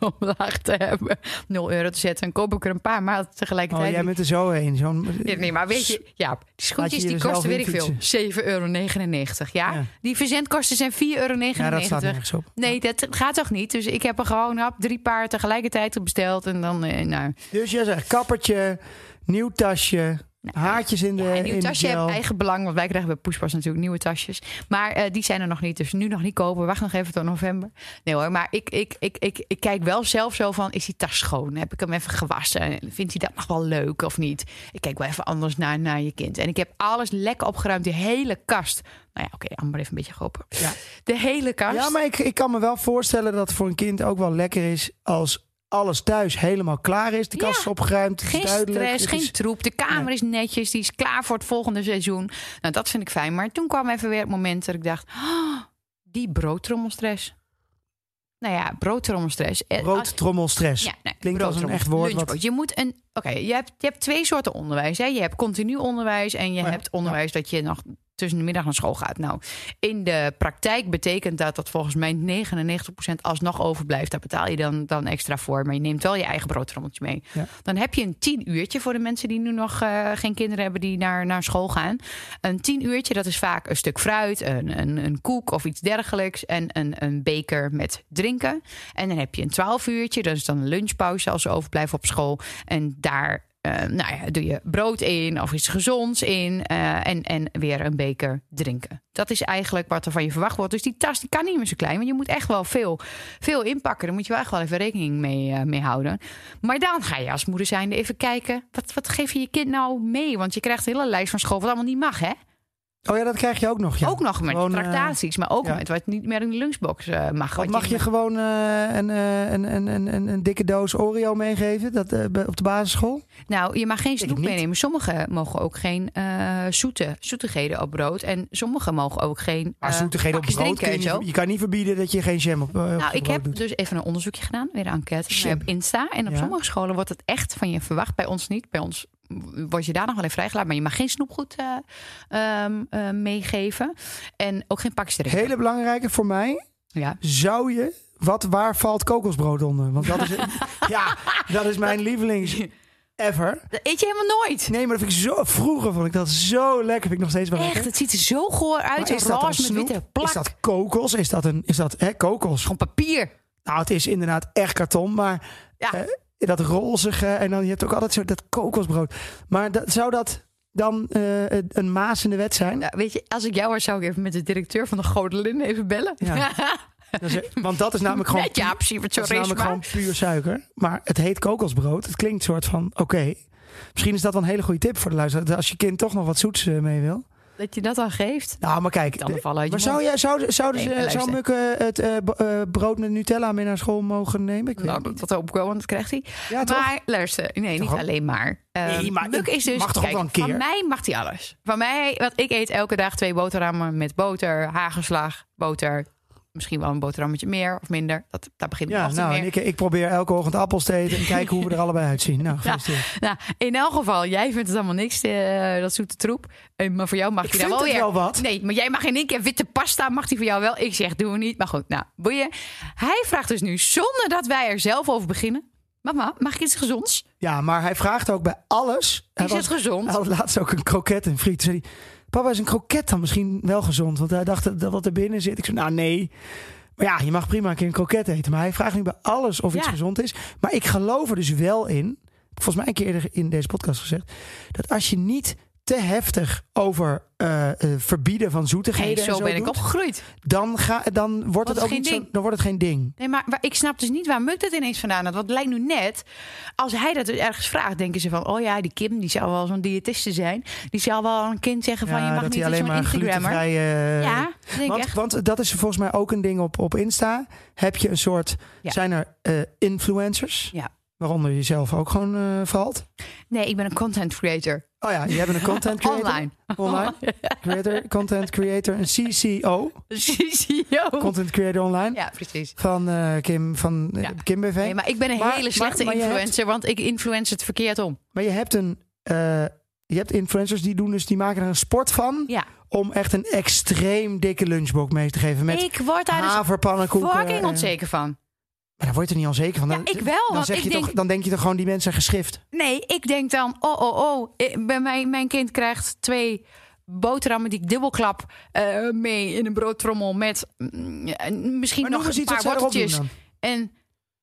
S2: omlaag te hebben. 0 euro te zetten. En koop ik er een paar, maar
S1: oh,
S2: tegelijkertijd.
S1: jij bent er zo heen. Zo'n,
S2: Nee, nee, maar weet je, ja, die
S1: Laat je
S2: schoentjes die
S1: jezelf
S2: kosten, weet ik veel,
S1: infietsen.
S2: 7,99 euro. Ja?
S1: Ja.
S2: die verzendkosten zijn 4,99 euro.
S1: Ja, dat staat nergens op.
S2: Nee, dat gaat toch niet? Dus ik heb er gewoon hap drie paar tegelijkertijd besteld. En dan, eh, nou,
S1: Dus jij zegt kappertje, nieuw tasje, haartjes in de
S2: Nou, ja, een nieuw
S1: in de
S2: tasje
S1: gel.
S2: heeft eigen belang. Want wij krijgen bij Poespas natuurlijk nieuwe tasjes. Maar eh, die zijn er nog niet. Dus nu nog niet kopen. Wacht nog even tot november. Nee hoor, maar ik, ik, ik, ik, ik kijk wel zelf zo van... is die tas schoon? Heb ik hem even gewassen? Vindt hij dat nog wel leuk of niet? Ik kijk wel even anders naar, naar je kind. En ik heb alles lekker opgeruimd. Die hele kast. Nou ja, oké, Amber heeft een beetje geholpen.
S1: Ja.
S2: De hele kast.
S1: Ja, maar ik, ik kan me wel voorstellen dat het voor een kind ook wel lekker is als alles thuis helemaal klaar is. De kast
S2: Ja.
S1: is opgeruimd, het is
S2: Geen
S1: duidelijk.
S2: stress,
S1: het
S2: geen
S1: is-
S2: troep. De kamer is netjes, die is klaar voor het volgende seizoen. Nou, dat vind ik fijn. Maar toen kwam even weer het moment dat ik dacht... "Ah, die broodtrommelstress. Nou ja, broodtrommelstress. Eh, als-
S1: Broodtrommelstress.
S2: ja, nee,
S1: Klinkt als een
S2: broodtrommel-
S1: echt woord wat-
S2: lunchbrood. Je moet een... Oké, je, hebt, je hebt twee soorten onderwijs. Hè? Je hebt continu onderwijs en je
S1: Oh ja,
S2: hebt onderwijs dat je nog tussen de middag naar school gaat. Nou, in de praktijk betekent dat dat volgens mij 99% alsnog overblijft. Daar betaal je dan, dan extra voor. Maar je neemt wel je eigen broodtrommeltje mee.
S1: Ja.
S2: Dan heb je een tien uurtje voor de mensen die nu nog eh, geen kinderen hebben die naar, naar school gaan. Een tien uurtje, dat is vaak een stuk fruit, een, een, een koek of iets dergelijks. En een, een beker met drinken. En dan heb je een twaalf uurtje, dat is dan een lunchpauze als ze overblijven op school. En daar eh, nou ja, doe je brood in of iets gezonds in. eh, en, en weer een beker drinken. Dat is eigenlijk wat er van je verwacht wordt. Dus die tas die kan niet meer zo klein. Want je moet echt wel veel, veel inpakken. Daar moet je wel echt wel even rekening mee, eh, mee houden. Maar dan ga je als moeder zijnde even kijken. Wat, wat geef je je kind nou mee? Want je krijgt een hele lijst van school wat allemaal niet mag, hè?
S1: Oh ja, dat krijg je ook nog. Ja.
S2: ook nog met
S1: Gewoon, eh,
S2: tractaties. Maar ook
S1: ja.
S2: met wat niet meer in de lunchbox eh, mag.
S1: Wat
S2: Wat
S1: mag je gewoon eh, een, eh, een, een, een, een, een dikke doos Oreo meegeven dat, eh, bij- op de basisschool?
S2: Nou, je mag geen snoep
S1: niet.
S2: meenemen. Sommigen mogen ook geen eh, zoete, zoetigheden op brood. En sommigen mogen ook geen
S1: Maar
S2: eh,
S1: zoetigheden op
S2: pakjes
S1: brood kun je,
S2: drinken en zo.
S1: niet- je kan niet verbieden dat je geen jam op, eh, op
S2: Nou,
S1: je
S2: ik
S1: brood
S2: heb
S1: doet.
S2: dus even een onderzoekje gedaan, weer een enquête eh,
S1: Shit.
S2: op Insta. En op
S1: Ja.
S2: sommige scholen wordt het echt van je verwacht. Bij ons niet. Bij ons word je daar nog wel in vrijgelaten. Maar je mag geen snoepgoed eh, ehm, eh, meegeven. En ook geen pakjes drinken.
S1: Hele belangrijke voor mij.
S2: Ja.
S1: Zou je... Wat, waar valt kokosbrood onder? Want dat is, ja, dat is mijn lievelings ever.
S2: Dat eet je helemaal nooit.
S1: Nee, maar dat vind ik zo... Vroeger vond ik dat zo lekker. Vind ik nog steeds wel lekker.
S2: Echt, het ziet er zo goor uit.
S1: Maar
S2: Zo
S1: is dat dan
S2: roze met
S1: snoep?
S2: witte plak.
S1: Is dat kokos? Is dat een... Is dat hè, kokos?
S2: Gewoon papier.
S1: Nou, het is inderdaad echt karton, maar
S2: Ja.
S1: eh, dat rozige en dan je hebt ook altijd zo dat kokosbrood. Maar dat, zou dat dan eh, een maas in de wet zijn?
S2: Nou, weet je, als ik jou was, zou ik even met de directeur van de Godelin even bellen.
S1: Ja. Dat is- want dat is namelijk gewoon,
S2: Net Jaap Sievert,
S1: dat is
S2: sorry,
S1: namelijk
S2: maar-
S1: gewoon puur suiker. Maar het heet kokosbrood. Het klinkt soort van oké. Misschien is dat wel een hele goede tip voor de luisteraar. dat Als je kind toch nog wat zoets eh, mee wil.
S2: Dat je dat dan geeft.
S1: Nou, maar kijk.
S2: Dan
S1: de-
S2: vallen uit je
S1: maar zou,
S2: mond.
S1: jij, zou, zouden
S2: Nee,
S1: ze-
S2: maar
S1: zou Mukke het eh, b- eh, brood met Nutella mee naar school mogen nemen? Ik weet
S2: Nou,
S1: het niet.
S2: dat hoop ik wel, want dat krijgt hij.
S1: Ja, toch?
S2: maar luister, nee,
S1: Toch
S2: niet
S1: ook?
S2: alleen maar. Ehm,
S1: Nee, maar
S2: Muk
S1: ik
S2: is dus,
S1: mag toch ook
S2: kijk,
S1: wel een keer?
S2: Van mij mag hij alles. Van mij, want ik eet elke dag twee boterhammen met boter, hagelslag, boter. Misschien wel een boterhammetje meer of minder. Dat, daar begint het
S1: Ja,
S2: altijd
S1: nou,
S2: meer.
S1: en ik, ik probeer elke ochtend appels te eten en kijken hoe we er allebei uitzien. Nou,
S2: Ja.
S1: gefeliciteerd.
S2: Nou, in elk geval, jij vindt het allemaal niks, eh, dat zoete troep. Eh, maar voor jou mag
S1: Ik
S2: hij daar
S1: vind
S2: wel
S1: het
S2: weer.
S1: wel wat.
S2: Nee, maar jij mag in één keer witte pasta, mag hij voor jou wel. Ik zeg, doe niet. Maar goed, nou, boeien. Hij vraagt dus nu, zonder dat wij er zelf over beginnen. Mama, mag ik iets gezonds?
S1: Ja, maar hij vraagt ook bij alles. Hij
S2: Is het gezond?
S1: hij had laatst ook een kroket en friet. Toen zei hij, papa, is een kroket dan misschien wel gezond? Want hij dacht dat wat er binnen zit. Ik zei, nou nee. Maar ja, je mag prima een keer een kroket eten. Maar hij vraagt nu bij alles of iets
S2: Ja.
S1: gezond is. Maar ik geloof er dus wel in. Volgens mij een keer eerder in deze podcast gezegd. Dat als je niet te heftig over eh, eh, verbieden van
S2: Nee,
S1: zoetigheden
S2: zo,
S1: en zo
S2: ben ik
S1: doet,
S2: opgegroeid.
S1: dan, ga, dan wordt het
S2: het
S1: ook
S2: geen
S1: niet zo,
S2: ding.
S1: dan wordt het geen ding.
S2: Nee, maar waar- ik snap dus niet waar Muk dat ineens vandaan had. Want het lijkt nu net, als hij dat dus ergens vraagt, denken ze van... oh ja, die Kim, die zou wel zo'n diëtiste zijn. Die zou wel aan een kind zeggen van... je mag
S1: dat
S2: niet
S1: hij
S2: dat
S1: alleen
S2: zo'n
S1: maar
S2: Instagrammer.
S1: glutenvrij... eh,
S2: Ja, dat denk ik
S1: want,
S2: echt.
S1: want dat is volgens mij ook een ding op, op Insta. Heb je een soort...
S2: Ja.
S1: Zijn er eh, influencers?
S2: Ja.
S1: Waaronder je zelf ook gewoon eh, valt?
S2: Nee, ik ben een content creator.
S1: Oh ja, je hebt een content creator.
S2: Online.
S1: Online. Creator, content creator. Een CCO.
S2: CEO.
S1: Content creator online.
S2: E Ja, precies.
S1: Van eh, Kim, van, eh,
S2: Ja.
S1: Kim BV.
S2: Nee, maar ik ben een
S1: Maar-
S2: hele
S1: maar-
S2: slechte
S1: maar je hebt-
S2: influencer, want ik influence het verkeerd om.
S1: Maar je hebt een... eh, je hebt influencers die doen dus, die maken er een sport van
S2: Ja.
S1: om echt een extreem dikke lunchbox mee te geven met
S2: ik word daar dus
S1: haverpannenkoeken.
S2: fucking
S1: en-
S2: onzeker van.
S1: Maar daar word je er niet onzeker van.
S2: Ja,
S1: Dan,
S2: ik wel,
S1: Dan,
S2: Oh, want
S1: zeg
S2: ik
S1: je
S2: denk-
S1: toch, dan denk je toch gewoon, die mensen zijn geschift.
S2: Nee, ik denk dan, oh, oh, oh, eh, bij mij, mijn kind krijgt twee boterhammen die ik dubbelklap eh, mee in een broodtrommel met mm, eh, misschien
S1: Maar noem
S2: nog
S1: eens
S2: een
S1: iets wat
S2: paar
S1: zij erop doen
S2: worteltjes.
S1: dan.
S2: En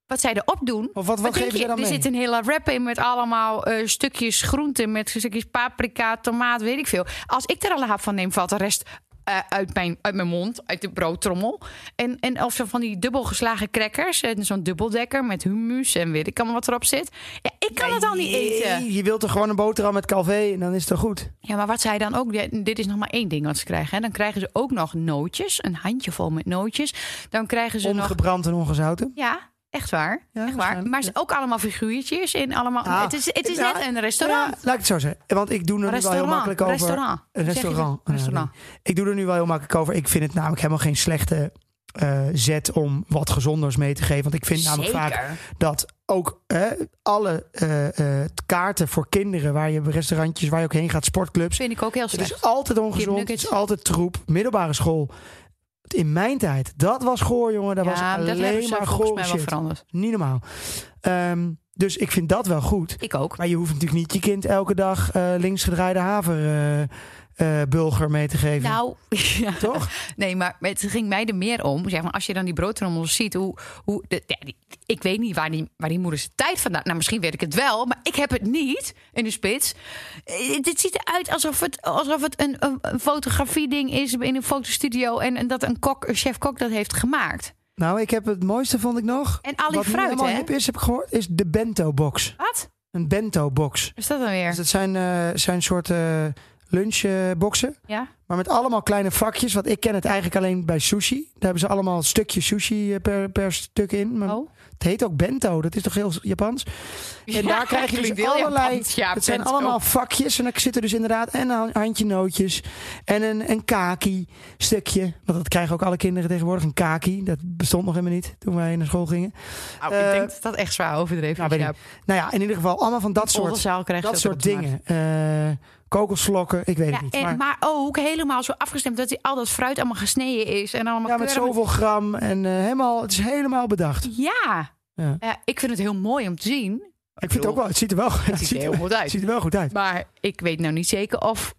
S2: wat zij erop doen,
S1: Of wat, wat
S2: denk
S1: geven ze
S2: je?
S1: dan mee?
S2: Er zit een hele wrap in met allemaal eh, stukjes groente, met stukjes paprika, tomaat, weet ik veel. Als ik er al een hap van neem, valt de rest eh, uit, mijn, uit mijn mond, uit de broodtrommel. En, en of zo van die dubbel geslagen crackers, en zo'n dubbeldekker met hummus en weet ik allemaal wat erop zit. Ja, ik kan het al niet eten.
S1: Nee, Je wilt er gewoon een boterham met calvé en dan is het toch goed.
S2: Ja, maar wat zij dan ook... ja, Dit is nog maar één ding wat ze krijgen. Hè. Dan krijgen ze ook nog nootjes, een handjevol met nootjes. Dan krijgen ze nog...
S1: Ongebrand en ongezouten.
S2: Ja, echt waar.
S1: Ja,
S2: echt waar.
S1: waarschijnlijk,
S2: Maar ze- ook allemaal figuurtjes in allemaal.
S1: Ah,
S2: het is, het is
S1: ja,
S2: net een
S1: Ja,
S2: restaurant.
S1: laat ik het zo zeggen. Want ik doe er nu wel heel
S2: Restaurant,
S1: makkelijk over.
S2: restaurant.
S1: Een
S2: Zeg je
S1: restaurant.
S2: dat? Restaurant.
S1: Ja, nee. ik doe er nu wel heel makkelijk over. Ik vind het namelijk helemaal geen slechte eh, zet om wat gezonders mee te geven. Want ik vind namelijk vaak dat ook hè, alle eh, eh, kaarten voor kinderen... waar je restaurantjes, waar je ook heen gaat, sportclubs...
S2: vind ik ook heel slecht.
S1: Het is altijd ongezond, het
S2: Kipnuggets.
S1: is altijd troep. Middelbare school. In mijn tijd, dat was goor, jongen. Dat was
S2: ja, dat hebben
S1: alleen
S2: ze
S1: maar
S2: volgens
S1: goor
S2: mij wel
S1: shit.
S2: veranderd.
S1: Niet normaal. Ehm, dus ik vind dat wel goed.
S2: Ik ook.
S1: Maar je hoeft natuurlijk niet je kind elke dag eh, linksgedraaide haverbulger bulger mee te geven.
S2: Nou, ja.
S1: Toch?
S2: nee, maar het ging mij er meer om. Zeg maar, als je dan die broodtrommel ziet, hoe. hoe de, ja, die- ik weet niet waar die, waar die moeder zijn tijd vandaan. Nou, misschien weet ik het wel, maar ik heb het niet in de spits. Eh, Dit ziet eruit alsof het, alsof het een, een, een fotografieding is in een fotostudio. En, en dat een, kok, een chef-kok dat heeft gemaakt.
S1: Nou, ik heb het mooiste, vond ik nog.
S2: En al die
S1: Wat nu
S2: fruit,
S1: helemaal
S2: hè?
S1: hip is, heb ik gehoord, is de bento box.
S2: Wat?
S1: Een bento box.
S2: Is dat dan weer?
S1: Dus dat zijn, eh, zijn soorten lunchboxen.
S2: Ja.
S1: Maar met allemaal kleine vakjes. Want ik ken het eigenlijk alleen bij sushi. Daar hebben ze allemaal een stukje sushi eh, per, per stuk in. Maar
S2: Oh.
S1: Het heet ook bento, dat is toch heel Japans? En daar krijg je
S2: klinkt
S1: dus
S2: heel
S1: allerlei...
S2: Japans, ja,
S1: het zijn
S2: bento.
S1: allemaal vakjes. En er zitten dus inderdaad en een handje nootjes. En een, een kaki stukje. Want dat krijgen ook alle kinderen tegenwoordig. Een kaki, dat bestond nog helemaal niet toen wij naar school gingen.
S2: Nou,
S1: eh,
S2: ik denk dat dat echt zwaar overdreven
S1: nou,
S2: is.
S1: weet
S2: Ja,
S1: Nou ja, in ieder geval allemaal van dat soort,
S2: Oldenzaal krijgt
S1: dat
S2: ze ook
S1: soort
S2: op de markt.
S1: dingen. Eh kokosvlokken, ik weet
S2: Ja,
S1: het niet.
S2: en, maar...
S1: maar-
S2: ook helemaal zo afgestemd dat die- al dat fruit allemaal gesneden is. En allemaal
S1: Ja, met
S2: keurig-
S1: zoveel gram en eh, helemaal, het is helemaal bedacht.
S2: Ja.
S1: Ja.
S2: Ja, ik vind het heel mooi om te zien.
S1: Ik vind het ook wel, het ziet er wel, het
S2: ziet er
S1: er-
S2: heel goed uit.
S1: Het ziet er wel goed uit.
S2: Maar ik weet nou niet zeker of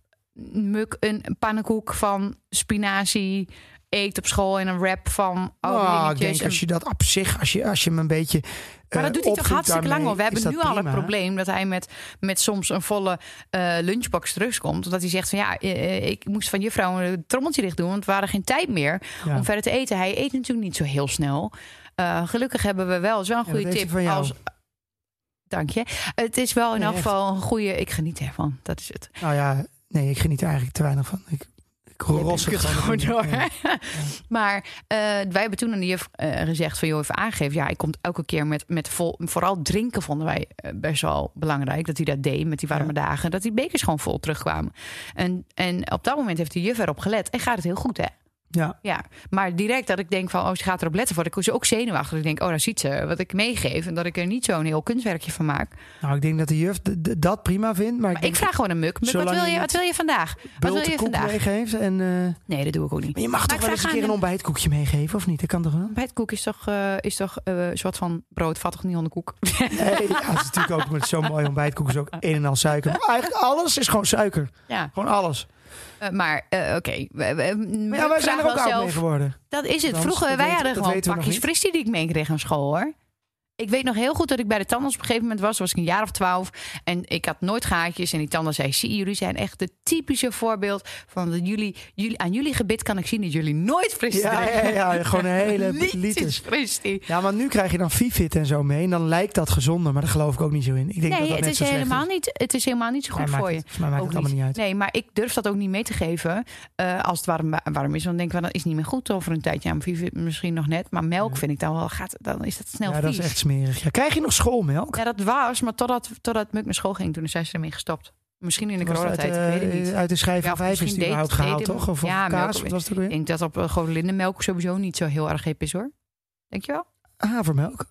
S2: Muk een pannenkoek van spinazie eet op school en een wrap van alle
S1: Nou, ik
S2: dingetjes.
S1: denk
S2: En-
S1: als je dat op zich, als je, als je hem een beetje.
S2: maar
S1: eh,
S2: dat doet hij toch
S1: opvoedt
S2: hartstikke lang
S1: daarmee,
S2: al. We
S1: is
S2: hebben nu
S1: dat
S2: al het
S1: prima.
S2: probleem dat hij met, met soms een volle eh, lunchbox terugkomt. Omdat hij zegt van ja, eh, ik moest van juffrouw een trommeltje dicht doen, want we hadden geen tijd meer
S1: Ja.
S2: om verder te eten. Hij eet natuurlijk niet zo heel snel. Eh, gelukkig hebben we wel, is wel een
S1: Ja,
S2: goede
S1: dat heeft
S2: tip.
S1: hij van jou.
S2: Als, dank je. Het is wel in
S1: Nee,
S2: elk
S1: echt.
S2: geval een goede. Ik geniet ervan. Dat is het.
S1: Nou ja, nee, ik geniet er eigenlijk te weinig van. Ik, ik ros
S2: Ik
S1: het
S2: het gewoon door.
S1: Ja.
S2: Maar eh, wij hebben toen aan die juf eh, gezegd van... joh, even aangegeven. Ja, hij komt elke keer met... met vol, vooral drinken vonden wij eh, best wel belangrijk. Dat hij dat deed met die warme dagen. Dat die bekers gewoon vol terugkwamen. En, en op dat moment heeft die juf erop gelet. En gaat het heel goed, hè?
S1: Ja.
S2: Ja, maar direct dat ik denk van, oh, ze gaat erop letten. Word ik ze ook zenuwachtig. Ik denk, oh, daar ziet ze wat ik meegeef. En dat ik er niet zo'n heel kunstwerkje van maak.
S1: Nou, ik denk dat de juf d- d- dat prima vindt. Maar ik,
S2: Maar ik vraag gewoon een muk. Muk, wat
S1: Zolang
S2: wil
S1: je
S2: je,
S1: niet
S2: wat wil je vandaag? Wat wil je vandaag?
S1: meegeeft. En, eh,
S2: Nee, dat doe ik ook niet.
S1: maar je mag toch
S2: ik
S1: wel eens
S2: vraag
S1: een
S2: aan
S1: keer een
S2: hem-
S1: ontbijtkoekje meegeven, of niet? Dat kan toch wel?
S2: Ontbijtkoek is toch, eh, is toch eh, een soort van brood, vattig niet hondenkoek.
S1: Nee, ja, het is natuurlijk ook met zo'n mooi ontbijtkoek is ook een en al suiker. Maar eigenlijk alles is gewoon suiker.
S2: ja.
S1: Gewoon alles.
S2: Eh, maar eh, oké. we- we-
S1: Maar
S2: ik
S1: ja, wij
S2: vraag
S1: zijn er
S2: wel
S1: ook oud mee
S2: zelf-
S1: geworden.
S2: Dat is het.
S1: Dat
S2: Vroeger,
S1: weten-
S2: wij
S1: dat
S2: hadden gewoon
S1: weten we nog
S2: pakjes
S1: niet.
S2: fristie die ik meekreeg aan school, hoor. Ik weet nog heel goed dat ik bij de tandarts op een gegeven moment was. was ik een jaar of twaalf. En ik had nooit gaatjes. En die tandarts zei, zie, jullie zijn echt het typische voorbeeld... van dat jullie, jullie, aan jullie gebit kan ik zien dat jullie nooit fristie
S1: Ja, ja,
S2: drinken.
S1: ja, gewoon een hele
S2: Niets is
S1: liters.
S2: fristie.
S1: Ja, maar nu krijg je dan Fifit en zo mee. En dan lijkt dat gezonder, maar daar geloof ik ook niet zo in. Ik denk dat
S2: Nee,
S1: dat
S2: het
S1: net
S2: is,
S1: zo slecht
S2: helemaal
S1: is.
S2: niet, het is helemaal niet zo
S1: Maar
S2: goed
S1: maakt
S2: voor
S1: het-
S2: je.
S1: volgens mij maakt
S2: Ook
S1: het allemaal niet uit.
S2: Nee, maar ik durf dat ook niet mee te geven eh, als het warm, warm is. Want dan denk ik, wel, dat is niet meer goed over een tijdje. Ja, maar vier- misschien nog net. Maar melk vind ik dan wel, gaat, dan is dat snel
S1: ja, dat
S2: vies.
S1: is echt smerig. Ja, krijg je nog schoolmelk?
S2: Ja, dat was, maar totdat, totdat Muk naar school ging, toen zijn ze ermee gestopt. Misschien in de
S1: Was het
S2: coronatijd,
S1: uit,
S2: ik weet het
S1: eh,
S2: niet.
S1: Uit de schijf
S2: Ja,
S1: van
S2: of
S1: vijf is
S2: misschien
S1: die überhaupt
S2: deed-
S1: gehaald,
S2: deed
S1: toch? Of, of
S2: ja, melk-
S1: kaas, wat was het ook
S2: Ik
S1: weer?
S2: denk dat op eh, godelindenmelk sowieso niet zo heel erg hip is, hoor. Denk je wel?
S1: Havermelk.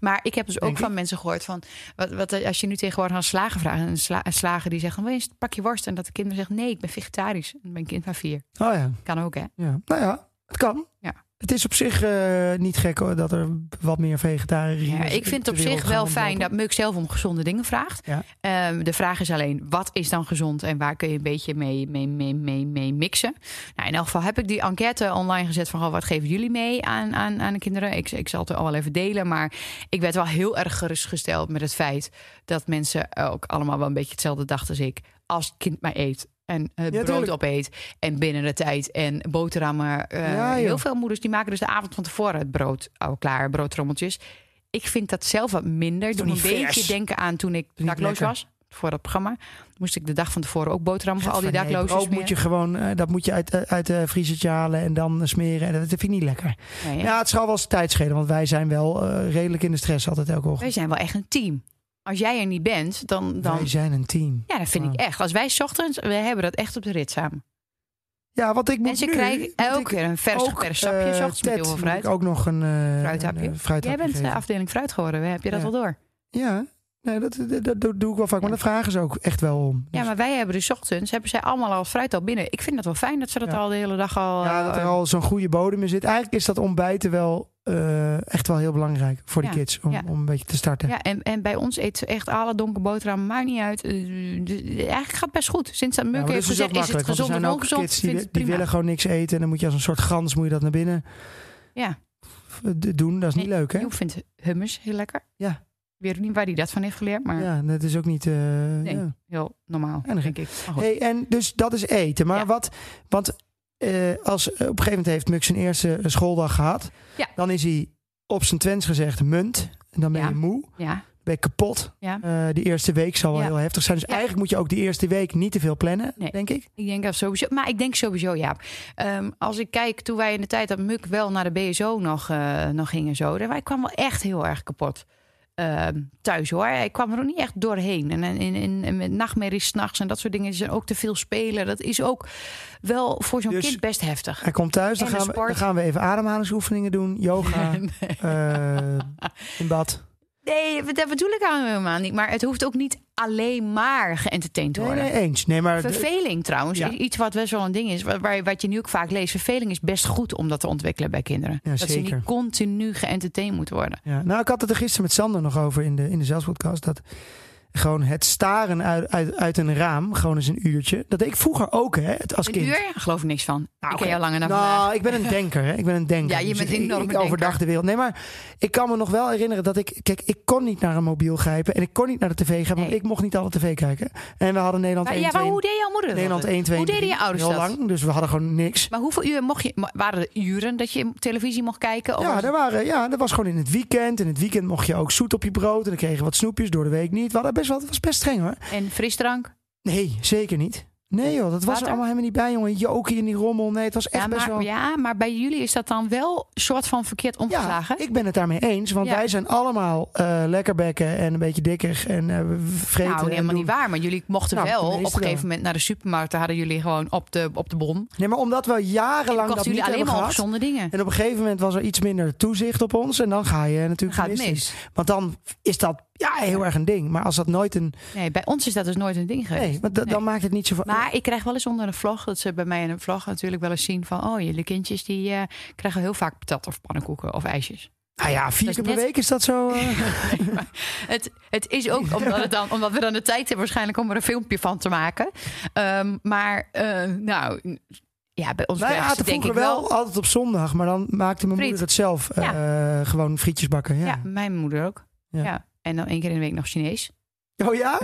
S2: Maar ik heb dus
S1: Denk
S2: ook van mensen gehoord van... Wat, wat, als je nu tegenwoordig aan slagen vraagt... en een, sla, een slager die zegt, wil je een pakje worst? En dat de kinderen zeggen, nee, ik ben vegetarisch. En dan ben ik kind van vier.
S1: Oh ja.
S2: Kan ook, hè?
S1: ja. Nou ja, het kan.
S2: Ja.
S1: Het is op zich eh, niet gek hoor, dat er wat meer vegetariërs
S2: Ja, ik vind het op zich wel fijn dat Muk zelf om gezonde dingen vraagt.
S1: Ja.
S2: Ehm, de vraag is alleen, wat is dan gezond en waar kun je een beetje mee, mee, mee, mee, mee mixen? Nou, in elk geval heb ik die enquête online gezet van, goh, wat geven jullie mee aan, aan, aan de kinderen? Ik, ik zal het er al wel even delen, maar ik werd wel heel erg gerustgesteld met het feit dat mensen ook allemaal wel een beetje hetzelfde dachten als ik. Als het kind maar eet en het
S1: Ja,
S2: brood
S1: tuurlijk.
S2: opeet en binnen de tijd en boterhammen. eh,
S1: Ja, joh.
S2: heel veel moeders die maken dus de avond van tevoren het brood al klaar, broodtrommeltjes. Ik vind dat zelf wat minder. Ik
S1: toch
S2: doe een
S1: niet vers?
S2: beetje denken aan toen ik
S1: niet
S2: dakloos
S1: lekker?
S2: was. Voor dat programma moest ik de dag van tevoren ook boterham voor al die daklozen
S1: Ook moet je gewoon, eh, dat moet je uit, eh, uit de vriezertje halen en dan eh, smeren. En dat vind ik niet lekker.
S2: Nee, hè?
S1: Ja, het zal wel eens tijd schelen, want wij zijn wel eh, redelijk in de stress altijd elke ochtend.
S2: Wij zijn wel echt een team. Als jij er niet bent, dan... dan
S1: Wij zijn een team.
S2: ja, dat vind ik echt. Als wij 's ochtends, we hebben dat echt op de rit samen.
S1: Ja, want ik moet
S2: En ze
S1: nu,
S2: krijgen
S1: moet
S2: elke
S1: ik
S2: keer een vers
S1: ook,
S2: geperst sapje.
S1: eh,
S2: 's ochtends
S1: Ted
S2: met heel veel
S1: moet
S2: fruit.
S1: ik ook nog een eh
S2: Fruithapje?
S1: een, eh, fruithapje
S2: Jij bent de
S1: geven.
S2: afdeling fruit geworden, hè? heb je dat
S1: Ja.
S2: al door?
S1: Ja, nee, dat, dat, dat doe- doe ik wel vaak. Maar
S2: Ja.
S1: dat vragen ze ook echt wel om.
S2: Ja,
S1: Dus-
S2: maar wij hebben dus 's ochtends, hebben zij allemaal al fruit al binnen. Ik vind dat wel fijn dat ze dat
S1: Ja.
S2: al de hele dag al...
S1: ja, dat er
S2: eh,
S1: al zo'n goede bodem in zit. Eigenlijk is dat ontbijten wel eh, echt wel heel belangrijk voor die
S2: Ja,
S1: kids. Om,
S2: ja.
S1: om een beetje te starten.
S2: Ja, en, en bij ons eet ze echt alle donkere boterhammen, maakt niet uit. Eh, dus Eigenlijk gaat het best goed. Sinds dat
S1: Ja,
S2: Muk
S1: maar
S2: heeft
S1: dat is dus ook
S2: gezegd, is
S1: makkelijk. want
S2: het gezond of
S1: er zijn ook
S2: ongezond?
S1: kids die,
S2: Vindt
S1: wi-
S2: het
S1: die
S2: prima.
S1: willen gewoon niks eten. En dan moet je als een soort gans moet je dat naar binnen
S2: Ja,
S1: f- d- doen. Dat is niet
S2: Nee,
S1: leuk, hè?
S2: Joep vindt hummus heel lekker.
S1: Ja.
S2: Weet ook niet waar hij dat van heeft geleerd, maar
S1: Ja, dat is ook niet... eh, ja.
S2: heel normaal,
S1: dan
S2: denk ik. Maar goed.
S1: Hey, en dus dat is eten. Maar
S2: Ja.
S1: wat, want eh, als eh, op een gegeven moment heeft Muk zijn eerste eh, schooldag gehad,
S2: Ja.
S1: dan is hij op zijn Twents gezegd munt. En dan ben
S2: Ja.
S1: je moe.
S2: Ja,
S1: ben ik kapot.
S2: Ja.
S1: Eh, die eerste week zal wel
S2: Ja.
S1: heel heftig zijn. Dus
S2: Ja.
S1: eigenlijk moet je ook die eerste week niet te veel plannen,
S2: Nee.
S1: denk ik.
S2: Ik denk dat sowieso. Maar ik denk sowieso, ja. Ehm, als ik kijk, toen wij in de tijd dat Muk wel naar de BSO nog, eh, nog gingen zo. Wij kwamen wel echt heel erg kapot ehm, thuis hoor. Ik kwam er ook niet echt doorheen. En, en, en, en, en met nachtmerries s'nachts en dat soort dingen. Ze zijn ook te veel spelen. Dat is ook wel voor zo'n
S1: Dus-
S2: kind best heftig.
S1: Hij komt thuis, dan
S2: En de
S1: gaan, we,
S2: sport.
S1: dan gaan we even ademhalingsoefeningen doen. Yoga, eh, in bad.
S2: Nee, dat bedoel ik helemaal niet. Maar het hoeft ook niet alleen maar geëntertaind te
S1: Nee,
S2: worden.
S1: nee, eens. Nee, maar d-
S2: Verveling trouwens,
S1: Ja.
S2: is iets wat best wel een ding is, wa- waar, wat je nu ook vaak leest. Verveling is best goed om dat te ontwikkelen bij kinderen.
S1: Ja,
S2: dat ze
S1: zeker.
S2: niet continu geëntertained moeten worden.
S1: Ja, nou, ik had het er gisteren met Sander nog over in de, in de zelfspodcast. Dat gewoon het staren uit, uit, uit een raam, gewoon eens een uurtje. Dat deed ik vroeger ook, hè, het- als
S2: een
S1: kind.
S2: uur? Ik geloof er niks van. ik ken
S1: oké.
S2: jou langer dan vandaag.
S1: Nou, ik ben een denker, hè. Ik ben een denker.
S2: Ja, je
S1: Dus
S2: bent
S1: ik-
S2: enorm
S1: Ik,
S2: een
S1: ik overdag
S2: denker.
S1: de wereld. Nee, maar ik kan me nog wel herinneren dat ik... Kijk, ik kon niet naar een mobiel grijpen en ik kon niet naar de tv gaan, want
S2: Nee.
S1: ik mocht niet alle tv kijken. En we hadden Nederland
S2: Maar,
S1: 1,
S2: ja, maar
S1: 2,
S2: hoe deed jouw moeder dat?
S1: Nederland 1, 2,
S2: Hoe deden je ouders
S1: heel
S2: dat?
S1: lang, dus we hadden gewoon niks.
S2: Maar hoeveel uur mocht je, ma- waren er uren dat je televisie mocht kijken? Of
S1: Ja,
S2: was-
S1: daar waren, ja, dat was gewoon in het weekend. In het weekend mocht je ook zoet op je brood. En dan kregen we wat snoepjes, door de week niet. We hadden best wel, het was best streng hoor.
S2: En frisdrank?
S1: Nee, zeker niet. Nee joh, dat was
S2: Water?
S1: er allemaal helemaal niet bij jongen. Jokie en die rommel. Nee, het was echt
S2: Ja
S1: best
S2: maar,
S1: wel...
S2: ja, maar bij jullie is dat dan wel soort van verkeerd
S1: Ja,
S2: omgeslagen?
S1: ik ben het daarmee eens. Want
S2: Ja.
S1: wij zijn allemaal eh lekkerbekken en een beetje dikker en eh vreten.
S2: nou,
S1: en
S2: helemaal
S1: doen.
S2: niet waar. Maar jullie mochten
S1: Nou,
S2: wel
S1: de
S2: op een
S1: meeste
S2: gegeven
S1: wel.
S2: moment naar de supermarkt. Daar hadden jullie gewoon op de, op de bon.
S1: Nee, maar omdat we jarenlang dat
S2: Kochten
S1: niet
S2: jullie alleen
S1: hebben
S2: maar
S1: gehad.
S2: ongezonde dingen.
S1: En op een gegeven moment was er iets minder toezicht op ons. En dan ga je
S2: Dan
S1: natuurlijk
S2: gaat het
S1: verliezen.
S2: mis.
S1: Want dan is dat ja, heel erg een ding. Maar als dat nooit een...
S2: Nee, bij ons is dat dus nooit een ding geweest.
S1: Nee, want da- dan maakt het niet zoveel...
S2: Maar ik krijg wel eens onder een vlog, dat ze bij mij in een vlog natuurlijk wel eens zien van... oh, jullie kindjes die eh, krijgen heel vaak patat of pannenkoeken of ijsjes.
S1: Nou ja, vier
S2: Dat
S1: keer
S2: is
S1: per
S2: Dus net-
S1: week is dat zo. eh,
S2: Het, het is ook omdat, het dan, omdat we dan de tijd hebben waarschijnlijk om er een filmpje van te maken. Ehm, maar eh, nou, ja, bij ons
S1: Wij
S2: krijgen ze
S1: aten
S2: denk ik
S1: vroeger
S2: wel...
S1: wel altijd op zondag, maar dan maakte mijn
S2: Friet.
S1: moeder het zelf. eh, gewoon frietjes bakken.
S2: ja.
S1: Ja.
S2: mijn moeder ook. Ja.
S1: Ja.
S2: En dan één keer in de week nog Chinees.
S1: Oh ja?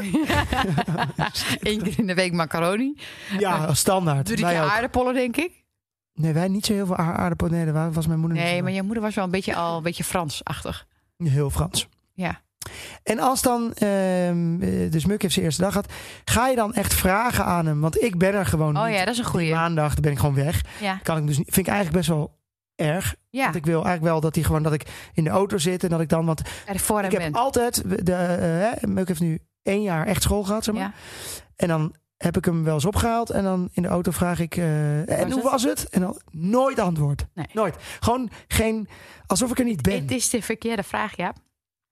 S2: Eén keer in de week macaroni.
S1: Ja, standaard.
S2: Drie
S1: Wij
S2: keer
S1: ook.
S2: aardappelen, denk ik.
S1: Nee, wij niet zo heel veel aar- aardappelen. Nee, daar was mijn moeder niet
S2: Nee,
S1: zo
S2: maar je moeder was wel een beetje al een beetje Frans-achtig.
S1: van. Heel Frans.
S2: Ja.
S1: En als dan, ehm, eh, dus Muk heeft zijn eerste dag gehad, ga je dan echt vragen aan hem? Want ik ben er gewoon
S2: Oh
S1: niet.
S2: ja, dat is een goeie.
S1: Maandag dan ben ik gewoon weg.
S2: Ja.
S1: Kan ik dus niet, vind ik eigenlijk best wel erg.
S2: Ja,
S1: Want ik wil eigenlijk wel dat hij gewoon, dat ik in de auto zit en dat ik dan, want
S2: ervoor en
S1: ik heb
S2: ben.
S1: altijd, de, eh, hè, Muk heeft nu één jaar echt school gehad, zeg maar.
S2: Ja.
S1: En dan heb ik hem wel eens opgehaald. En dan in de auto vraag ik. eh, en
S2: was
S1: hoe
S2: het?
S1: was het? En dan nooit antwoord.
S2: Nee.
S1: Nooit. Gewoon geen. Alsof ik er niet ben.
S2: Het is de verkeerde vraag, ja.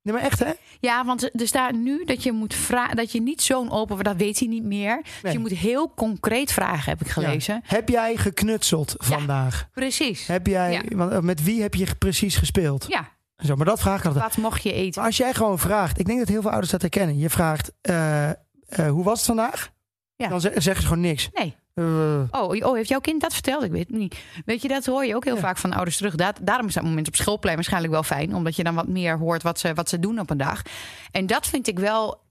S1: Nee, maar echt hè?
S2: Ja, want er staat nu dat je moet vragen, dat je niet zo'n open, dat weet hij niet meer. Dus
S1: Nee.
S2: je moet heel concreet vragen, heb ik gelezen.
S1: Ja. Heb jij geknutseld vandaag?
S2: Precies.
S1: Heb jij,
S2: Ja.
S1: want, eh, met wie heb je precies gespeeld?
S2: Ja,
S1: Zo, maar dat vraag ik altijd.
S2: wat mocht je eten?
S1: Maar als jij gewoon vraagt, ik denk dat heel veel ouders dat herkennen. Je vraagt, eh, eh, hoe was het vandaag?
S2: Ja.
S1: Dan ze- zeggen ze gewoon niks.
S2: Nee.
S1: Eh,
S2: Oh, oh, heeft jouw kind dat verteld? Ik weet het niet. Weet je, dat hoor je ook heel vaak van ouders terug. Dat, daarom is dat moment op schoolplein waarschijnlijk wel fijn. Omdat je dan wat meer hoort wat ze, wat ze doen op een dag. En dat vind ik wel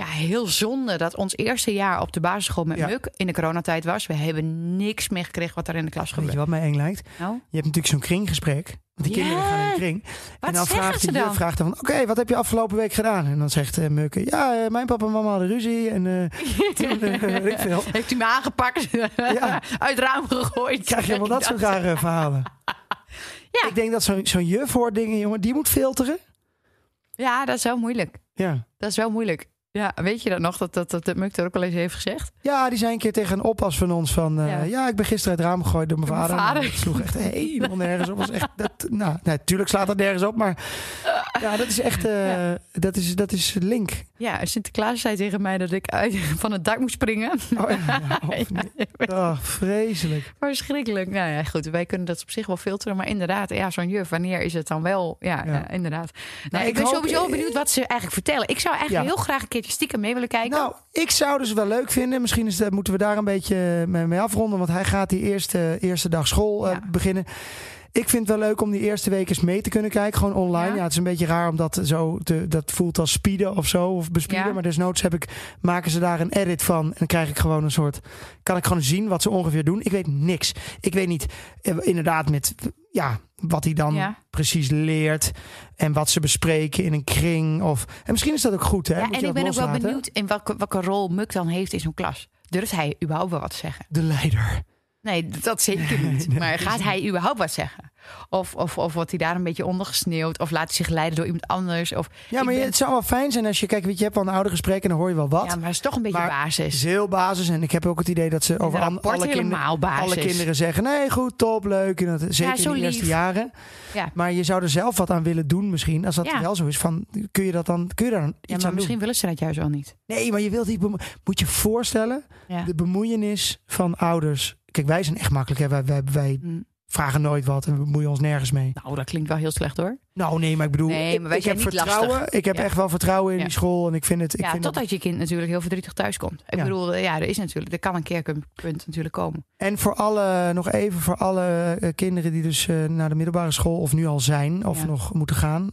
S2: ja, heel zonde. Dat ons eerste jaar op de basisschool met
S1: Ja.
S2: Muk in de coronatijd was. We hebben niks meer gekregen wat er in de klas
S1: weet je
S2: gebeurde.
S1: wat mij eng lijkt?
S2: Nou,
S1: Je hebt natuurlijk zo'n kringgesprek. Want die
S2: Ja.
S1: kinderen gaan in een kring.
S2: Wat
S1: en dan
S2: zeggen
S1: vraagt
S2: ze
S1: de juf,
S2: dan?
S1: vraagt dan van, oké, wat heb je afgelopen week gedaan? En dan zegt eh, Meuke, ja, eh, mijn papa en mama hadden ruzie. En eh, toen, eh, weet ik veel.
S2: heeft u me aangepakt?
S1: Ja.
S2: Uit het raam gegooid.
S1: Krijg je helemaal dat soort rare verhalen.
S2: Ja.
S1: Ik denk dat zo'n zo'n juf hoort dingen, jongen, die moet filteren.
S2: Ja, dat is wel moeilijk.
S1: Ja.
S2: Dat is wel moeilijk. Ja, weet je dat nog? Dat, dat, dat, dat Muk er ook al eens heeft gezegd.
S1: Ja, die zijn een keer tegen een oppas van ons van... eh,
S2: Ja.
S1: ja. ik ben gisteren uit het raam gegooid door mijn
S2: Door mijn
S1: vader.
S2: vader.
S1: Het sloeg echt helemaal nergens op. Was echt, dat, nou, natuurlijk slaat dat nergens op, maar... Ja, dat is echt... eh, dat, is, dat is link.
S2: Ja, Sinterklaas zei tegen mij dat ik uit, van het dak moest springen.
S1: Oh, ja, ja, of niet. Oh, vreselijk.
S2: Verschrikkelijk. Nou ja, goed. Wij kunnen dat op zich wel filteren. Maar inderdaad, ja, zo'n juf, wanneer is het dan wel? Ja,
S1: Ja.
S2: ja, inderdaad. Nou, ik,
S1: ik
S2: ben
S1: hoop-
S2: sowieso benieuwd wat ze eigenlijk vertellen. Ik zou eigenlijk
S1: Ja.
S2: heel graag een keertje stiekem mee willen kijken.
S1: Nou, ik zou dus wel leuk vinden. Misschien is, dat- moeten we daar een beetje eh, mee, mee afronden. Want hij gaat die eerste, eerste dag school eh,
S2: Ja.
S1: beginnen. Ik vind het wel leuk om die eerste week eens mee te kunnen kijken. Gewoon online.
S2: Ja.
S1: Ja, het is een beetje raar omdat zo te, dat voelt als spieden of zo. Of bespieden.
S2: Ja.
S1: Maar desnoods heb ik, maken ze daar een edit van. En dan krijg ik gewoon een soort. Kan ik gewoon zien wat ze ongeveer doen. Ik weet niks. Ik weet niet. eh, Inderdaad, met ja, wat hij dan
S2: Ja.
S1: precies leert en wat ze bespreken in een kring. Of, en misschien is dat ook goed, hè?
S2: Ja,
S1: Moet je
S2: en ik
S1: dat
S2: ben ook wel
S1: loslaten.
S2: benieuwd in welke, welke rol Muk dan heeft in zo'n klas. Durft hij überhaupt wel wat zeggen?
S1: De leider.
S2: Nee, dat zeker niet. Maar gaat hij überhaupt wat zeggen? Of, of, of wordt hij daar een beetje ondergesneeuwd? Of laat hij zich leiden door iemand anders? Of,
S1: Ja,
S2: Ik
S1: maar je-
S2: ben-
S1: het zou wel fijn zijn als je, kijk, weet je, je hebt wel een oude gesprek en dan hoor je wel wat.
S2: ja, maar het is toch een beetje
S1: Maar-
S2: basis.
S1: is heel basis. En ik heb ook het idee dat ze over
S2: Het
S1: an-
S2: rapport
S1: alle, kinderen,
S2: helemaal basis.
S1: alle kinderen zeggen: nee, goed, top, leuk. En dat, zeker
S2: zo
S1: in de eerste
S2: lief.
S1: jaren.
S2: Ja.
S1: Maar je zou er zelf wat aan willen doen, misschien. Als dat
S2: Ja.
S1: wel zo is, van, kun je, dat dan, kun je daar dan iets
S2: Ja,
S1: aan
S2: maar
S1: doen?
S2: misschien willen ze dat juist wel niet.
S1: Nee, maar je wilt niet. bemo- Moet je voorstellen,
S2: Ja.
S1: de bemoeienis van ouders. Kijk, wij zijn echt makkelijk. Hè? Wij, wij, wij
S2: Hm.
S1: vragen nooit wat en we bemoeien ons nergens mee.
S2: Nou, dat klinkt wel heel slecht hoor.
S1: Nou, nee, maar ik bedoel,
S2: Nee,
S1: ik-
S2: maar
S1: ik,
S2: wij zijn
S1: heb
S2: niet
S1: vertrouwen.
S2: lastig.
S1: Ik heb
S2: Ja.
S1: echt wel vertrouwen in
S2: Ja.
S1: die school. En ik vind het. Ik
S2: ja,
S1: vind het
S2: totdat je kind natuurlijk heel verdrietig thuiskomt. Ik
S1: Ja.
S2: bedoel, eh, ja, er is natuurlijk, er kan een keerpunt natuurlijk komen.
S1: En voor alle, nog even voor alle eh, kinderen die dus eh, naar de middelbare school of nu al zijn of
S2: Ja.
S1: nog moeten gaan.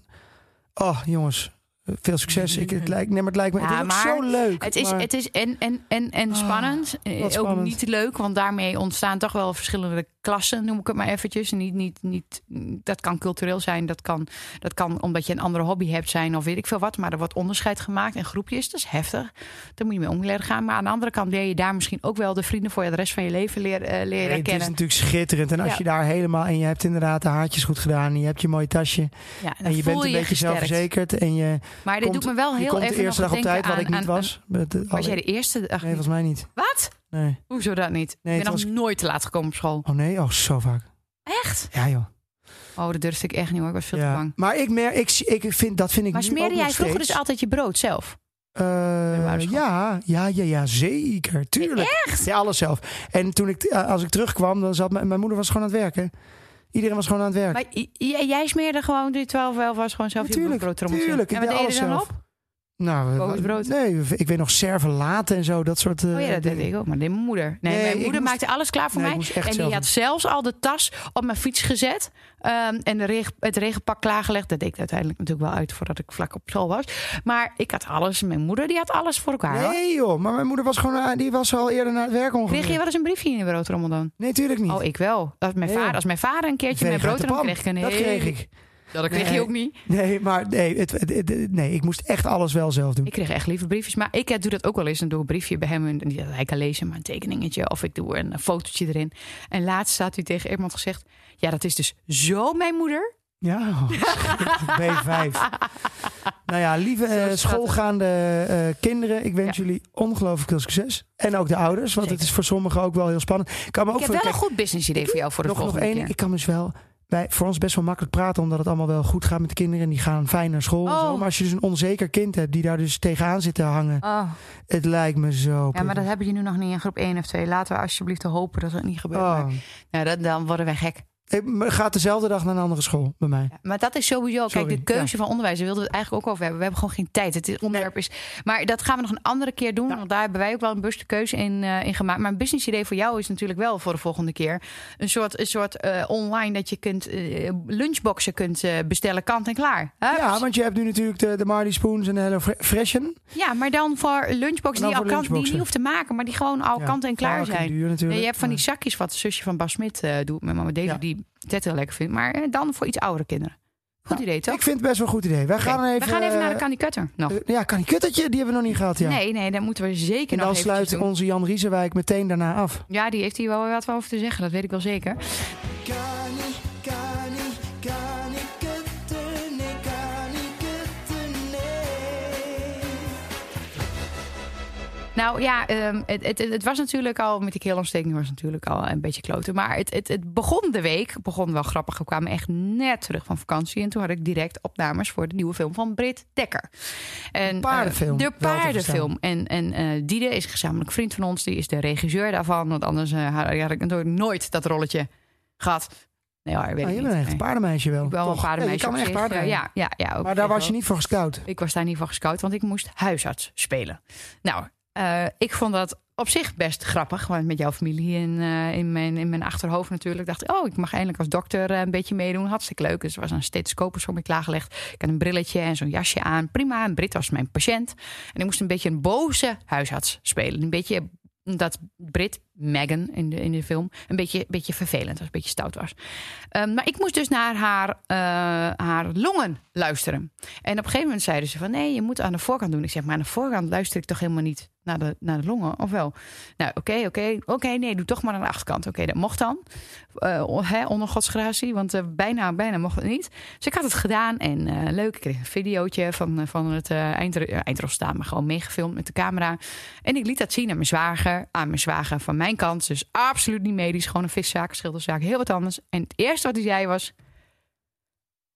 S1: Oh, jongens, eh, veel succes. Ik, het, lijkt, nee, maar het lijkt me het
S2: Ja,
S1: is ook
S2: maar
S1: zo leuk.
S2: Het is,
S1: maar-
S2: het is en, en, en, en
S1: Ah,
S2: spannend. Eh, ook
S1: spannend.
S2: niet leuk, want daarmee ontstaan toch wel verschillende klassen, noem ik het maar eventjes. Niet, niet, niet, dat kan cultureel zijn, dat kan, dat kan omdat je een andere hobby hebt zijn of weet ik veel wat. Maar er wordt onderscheid gemaakt in groepjes, dat is heftig. Daar moet je mee om leren gaan. Maar aan de andere kant leer je daar misschien ook wel de vrienden voor je de rest van je leven leer, eh, leren
S1: Nee, het is
S2: kennen.
S1: natuurlijk schitterend. En als
S2: Ja.
S1: je daar helemaal en je hebt inderdaad de haartjes goed gedaan en je hebt je mooie tasje
S2: ja, dan
S1: en je
S2: voel
S1: bent een beetje
S2: gesterkt.
S1: zelfverzekerd en je,
S2: Maar dit
S1: komt-
S2: doet me wel
S1: je
S2: heel
S1: komt
S2: even
S1: de eerste
S2: nog
S1: dag op
S2: denken
S1: tijd, wat
S2: aan-
S1: ik niet
S2: aan-
S1: was. Met de-
S2: Was jij
S1: alle-
S2: de eerste dag?
S1: nee,
S2: niet?
S1: volgens mij niet.
S2: Wat?
S1: Nee.
S2: Hoezo dat niet?
S1: Nee,
S2: ik ben
S1: het
S2: nog nooit te laat gekomen op school.
S1: Oh nee, oh zo vaak.
S2: Echt?
S1: Ja joh.
S2: Oh, dat durfde ik echt niet hoor. Ik was veel te
S1: Ja.
S2: bang.
S1: Maar ik merk, ik, ik vind, dat vind ik
S2: Maar
S1: nu
S2: smeerde
S1: ook
S2: jij
S1: nog
S2: vroeger dus
S1: steeds.
S2: altijd je brood zelf?
S1: Eh
S2: basisschool?
S1: ja, ja, ja, ja, zeker. Tuurlijk.
S2: Echt?
S1: Ja, alles zelf. En toen ik, eh, als ik terugkwam, dan zat mijn, mijn moeder was gewoon aan het werken. Iedereen was gewoon aan het werk.
S2: Maar j- j- jij smeerde gewoon die 12 wel was gewoon zelf je
S1: Natuurlijk,
S2: broodtrommeltje.
S1: tuurlijk. Ik
S2: En wat
S1: deed
S2: deed
S1: alles
S2: je er dan
S1: zelf.
S2: op?
S1: Nou, we-
S2: Kokend brood.
S1: Nee, ik weet nog serven laten en zo, dat soort eh,
S2: Oh ja, dat deed
S1: dingen.
S2: ik ook. Maar mijn moeder. Nee,
S1: Nee,
S2: mijn
S1: ik
S2: moeder
S1: moest-
S2: maakte alles klaar voor
S1: Nee, ik
S2: mij.
S1: moest echt
S2: En die
S1: zelf
S2: had
S1: doen.
S2: zelfs al de tas op mijn fiets gezet. ehm, en de reg- het regenpak klaargelegd. Dat deed ik uiteindelijk natuurlijk wel uit voordat ik vlak op school was. Maar ik had alles. Mijn moeder die had alles voor elkaar. hoor.
S1: Nee joh, maar mijn moeder was gewoon, eh, die was al eerder naar het werk
S2: Kreeg je
S1: ongeveer.
S2: wel eens een briefje in je broodtrommel dan?
S1: Nee, tuurlijk niet.
S2: Oh, ik wel. Als mijn,
S1: Nee,
S2: vader,
S1: joh.
S2: als mijn vader een keertje
S1: Veeg
S2: mijn
S1: uit de pan.
S2: broodtrommel kreeg, ik een
S1: Dat
S2: hele-
S1: kreeg ik.
S2: Ja, dat kreeg
S1: Nee.
S2: je ook niet.
S1: Nee, maar nee, het, het- het- nee, ik moest echt alles wel zelf doen.
S2: Ik kreeg echt lieve briefjes. Maar ik eh, doe dat ook wel eens. Dan doe ik een briefje bij hem. En niet dat hij kan lezen, maar een tekeningetje. Of ik doe een eh, fotootje erin. En laatst staat u tegen iemand gezegd... Ja, dat is dus zo mijn moeder.
S1: Ja, oh, B5. Nou ja, lieve eh,
S2: schattig.
S1: schoolgaande eh, kinderen, ik wens
S2: Ja.
S1: jullie ongelooflijk veel succes. En ook de ouders, want het
S2: Zeker.
S1: is voor sommigen ook wel heel spannend. Ik kan me ook
S2: ik
S1: voor-
S2: heb wel
S1: kijk,
S2: een goed business idee voor jou voor de
S1: nog, nog
S2: volgende
S1: één, ik
S2: keer.
S1: kan dus wel wij, voor ons best wel makkelijk praten, omdat het allemaal wel goed gaat met de kinderen en die gaan fijn naar school. en
S2: Oh.
S1: zo. Maar als je dus een onzeker kind hebt die daar dus tegenaan zit te hangen,
S2: Oh.
S1: het lijkt me zo.
S2: Ja, maar dat
S1: pittig.
S2: hebben je nu nog niet in groep 1 of 2. Laten we alsjeblieft hopen dat dat niet gebeurt.
S1: Oh.
S2: Maar, nou, dat, dan worden wij gek.
S1: Ik maar gaat dezelfde dag naar een andere school bij mij.
S2: Ja, Maar dat is sowieso.
S1: Sorry,
S2: Kijk, de keuze van onderwijs, daar wilden we het eigenlijk ook over hebben. We hebben gewoon geen tijd. Het is- onderwerp is. Maar dat gaan we nog een andere keer doen.
S1: Ja.
S2: Want daar hebben wij ook wel een bewuste keuze in, eh, in gemaakt. Maar een business idee voor jou is natuurlijk wel voor de volgende keer. Een soort, een soort eh, online dat je kunt eh, lunchboxen kunt eh, bestellen, kant en klaar. Hups.
S1: Ja, want je hebt nu natuurlijk de, de Marley Spoons en de Hello Fre- Freshen.
S2: ja, maar dan voor lunchboxen
S1: Dan
S2: die, al
S1: voor
S2: kant, die je niet
S1: lunchboxen.
S2: hoeft te maken, maar die gewoon al
S1: Ja,
S2: kant en klaar
S1: vaak en
S2: zijn.
S1: duur
S2: Ja,
S1: natuurlijk.
S2: je hebt van die
S1: maar-
S2: zakjes wat de zusje van Bas Smit eh, doet met mama Deli,
S1: Ja.
S2: die Ted heel lekker vindt. Maar eh, dan voor iets oudere kinderen. Goed
S1: Ja,
S2: idee, toch?
S1: Ik vind het best wel een goed idee. Wij
S2: Oké,
S1: gaan even...
S2: we gaan even naar de
S1: eh,
S2: Candy Cutter nog.
S1: Eh, Ja, kan die kuttertje, die hebben we nog niet gehad. Ja.
S2: Nee, nee, daar moeten we zeker
S1: en dan
S2: nog eventjes
S1: sluit
S2: doen.
S1: onze Jan Riezenwijk meteen daarna af.
S2: Ja, die heeft hier wel wat over te zeggen, dat weet ik wel zeker.
S3: Kan niet, kan niet, kan ik het er, nee, kan ik het er, nee.
S2: Nou ja, ehm, het, het, het was natuurlijk al, met die keelontsteking was het natuurlijk al een beetje kloten. Maar het, het, het begon de week, het begon wel grappig. We kwamen echt net terug van vakantie. En toen had ik direct opnames voor de nieuwe film van Britt Dekker. En,
S1: paardenfilm,
S2: eh,
S1: wel
S2: de
S1: te
S2: paardenfilm. En, en eh Diede is een gezamenlijk vriend van ons. Die is de regisseur daarvan. Want anders eh, had, had ik nooit- nooit dat rolletje gehad. Nee hoor, weet
S1: Ah,
S2: ik
S1: je
S2: niet.
S1: bent echt
S2: Nee.
S1: een paardenmeisje wel.
S2: Ik ben wel een
S1: toch?
S2: paardenmeisje.
S1: Ja, je
S2: op
S1: kan echt
S2: zich. eh,
S1: paarden. rijden.
S2: Ja, ja, ja, ook
S1: maar daar
S2: echt
S1: was je
S2: wel.
S1: niet voor gescout.
S2: Ik was daar niet van gescout, want ik moest huisarts spelen. Nou, eh, ik vond dat op zich best grappig. Want met jouw familie in, eh, in, mijn, in mijn achterhoofd natuurlijk. Dacht ik, oh, ik mag eindelijk als dokter eh, een beetje meedoen. Hartstikke leuk. Dus er was een stethoscoop voor me klaargelegd. Ik had een brilletje en zo'n jasje aan. Prima, en Brit was mijn patiënt. En ik moest een beetje een boze huisarts spelen. Een beetje dat Brit Megan in de, in de film. Een beetje, beetje vervelend was, een beetje stout was. Ehm, maar ik moest dus naar haar, eh, haar longen luisteren. En op een gegeven moment zeiden ze van... nee, je moet aan de voorkant doen. Ik zeg, maar aan de voorkant luister ik toch helemaal niet naar de, naar de longen, of wel? Nou, oké, oké, oké, nee, doe toch maar aan de achterkant. Oké, dat mocht dan. Eh, on- hè, onder Gods gratie, want eh, bijna, bijna mocht het niet. Dus ik had het gedaan en eh, leuk. Ik kreeg een videootje van, eh, van het eh eindre- eh, eindresultaat, maar gewoon meegefilmd met de camera. En ik liet dat zien aan mijn zwager, aan mijn zwager van mijn kant. Dus absoluut niet medisch, gewoon een viszaak, schilderzaak, heel wat anders. En het eerste wat hij zei was...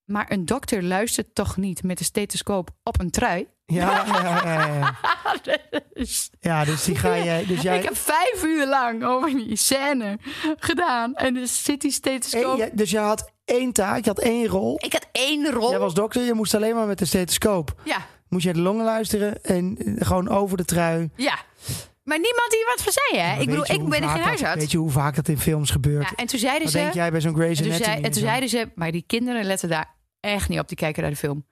S2: Maar een dokter luistert toch niet met een stethoscoop op een trui?
S1: Ja, eh, ja, ja, ja, ja. Ja, dus die ga je. Dus jij,
S2: Ik heb vijf uur lang over die scène gedaan. En dus zit die stethoscoop...
S1: Eén- ja, dus jij had één taak, je had één rol.
S2: Ik had één rol.
S1: Jij was dokter, je moest alleen maar met de stethoscoop.
S2: Ja,
S1: Moest je de longen luisteren en eh, gewoon over de trui.
S2: ja. Maar niemand die wat van zei, hè? ik
S1: Weet
S2: bedoel,
S1: je
S2: ik
S1: hoe
S2: ben
S1: vaak
S2: geen
S1: dat-
S2: huisarts.
S1: Weet je hoe vaak dat in films gebeurt?
S2: Ja, en toen zeiden
S1: Wat
S2: ze...
S1: denk jij bij zo'n Grey's
S2: En toen,
S1: Anatomy?
S2: zei, en dus
S1: en
S2: toen
S1: zo?
S2: zeiden ze, maar die kinderen letten daar echt niet op. Die kijken naar de film.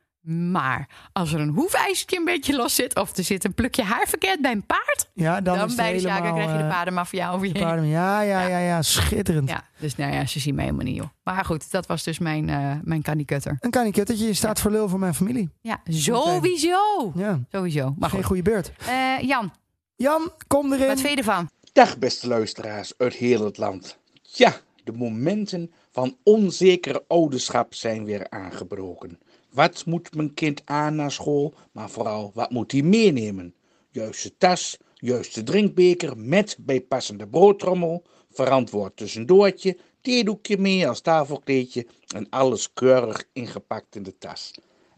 S2: Maar als er een hoefijzertje een beetje los zit... of er zit een plukje haar verkeerd bij een paard...
S1: ja, dan,
S2: dan,
S1: is het
S2: bij de zaken
S1: helemaal,
S2: krijg je de
S1: eh,
S2: paardenmafia over je
S1: de
S2: heen.
S1: paarden- Ja, ja, ja, ja, schitterend.
S2: Ja, dus nou ja, ze zien mij helemaal niet, joh. Maar goed, dat was dus mijn, eh mijn candy cutter.
S1: Een kan ik dat je staat voor lul van mijn familie.
S2: Ja, sowieso.
S1: Ja,
S2: Sowieso. Maar
S1: geen
S2: goed.
S1: goede beurt.
S2: Eh, Jan,
S1: Jan, kom erin.
S2: wat vind je ervan?
S4: Dag beste luisteraars uit heel het land. Ja, de momenten van onzekere ouderschap zijn weer aangebroken. Wat moet mijn kind aan naar school, maar vooral wat moet hij meenemen? Juiste tas, juiste drinkbeker met bijpassende broodtrommel, verantwoord tussendoortje, theedoekje mee als tafelkleedje en alles keurig ingepakt in de tas.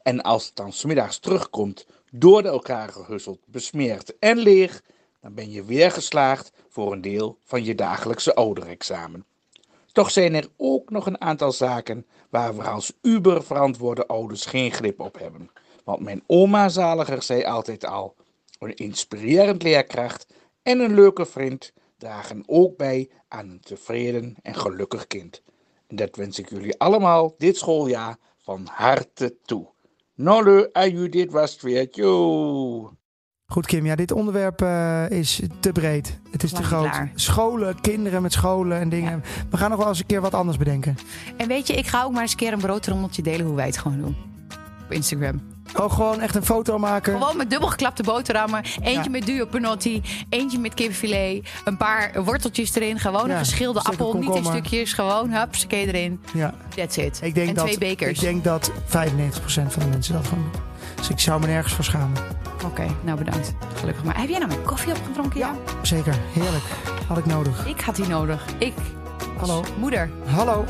S4: En als het dan smiddags terugkomt, door de elkaar gehusseld, besmeerd en leeg, dan ben je weer geslaagd voor een deel van je dagelijkse ouderexamen. Toch zijn er ook nog een aantal zaken waar we als uberverantwoorde ouders geen grip op hebben. Want mijn oma zaliger zei altijd al, een inspirerend leerkracht en een leuke vriend dragen ook bij aan een tevreden en gelukkig kind. En dat wens ik jullie allemaal dit schooljaar van harte toe. Nolle, aju, dit was het weer. Tjoe!
S1: Goed, Kim. Ja, dit onderwerp eh, is te breed. Het is te
S2: Lang
S1: groot.
S2: niet klaar.
S1: Scholen, kinderen met scholen en dingen. We gaan nog wel eens een keer wat anders bedenken.
S2: En weet je, ik ga ook maar eens een keer een broodtrommeltje delen hoe wij het gewoon doen. Op Instagram.
S1: Oh, gewoon echt een foto maken.
S2: Gewoon met dubbelgeklapte boterhammen. Eentje
S1: Ja.
S2: met duo panotti. Eentje met kipfilet. Een paar worteltjes erin. Gewoon een
S1: Ja,
S2: geschilde
S1: stukje
S2: appel. Niet in
S1: komkommer.
S2: stukjes. Gewoon hupsakee erin.
S1: Ja,
S2: That's it.
S1: ik denk
S2: en
S1: dat,
S2: twee bekers.
S1: Ik denk dat 95% van de mensen dat gewoon doen. Dus ik zou me nergens voor schamen.
S2: Oké, nou bedankt. Gelukkig maar. Heb jij nou mijn koffie opgedronken? Jan?
S1: Zeker, heerlijk. Had ik nodig.
S2: Ik had die nodig. Ik.
S1: Hallo.
S2: Moeder.
S1: Hallo.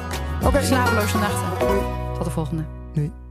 S1: Oké.
S2: Slapeloze nachten. Tot de volgende.
S1: Doei.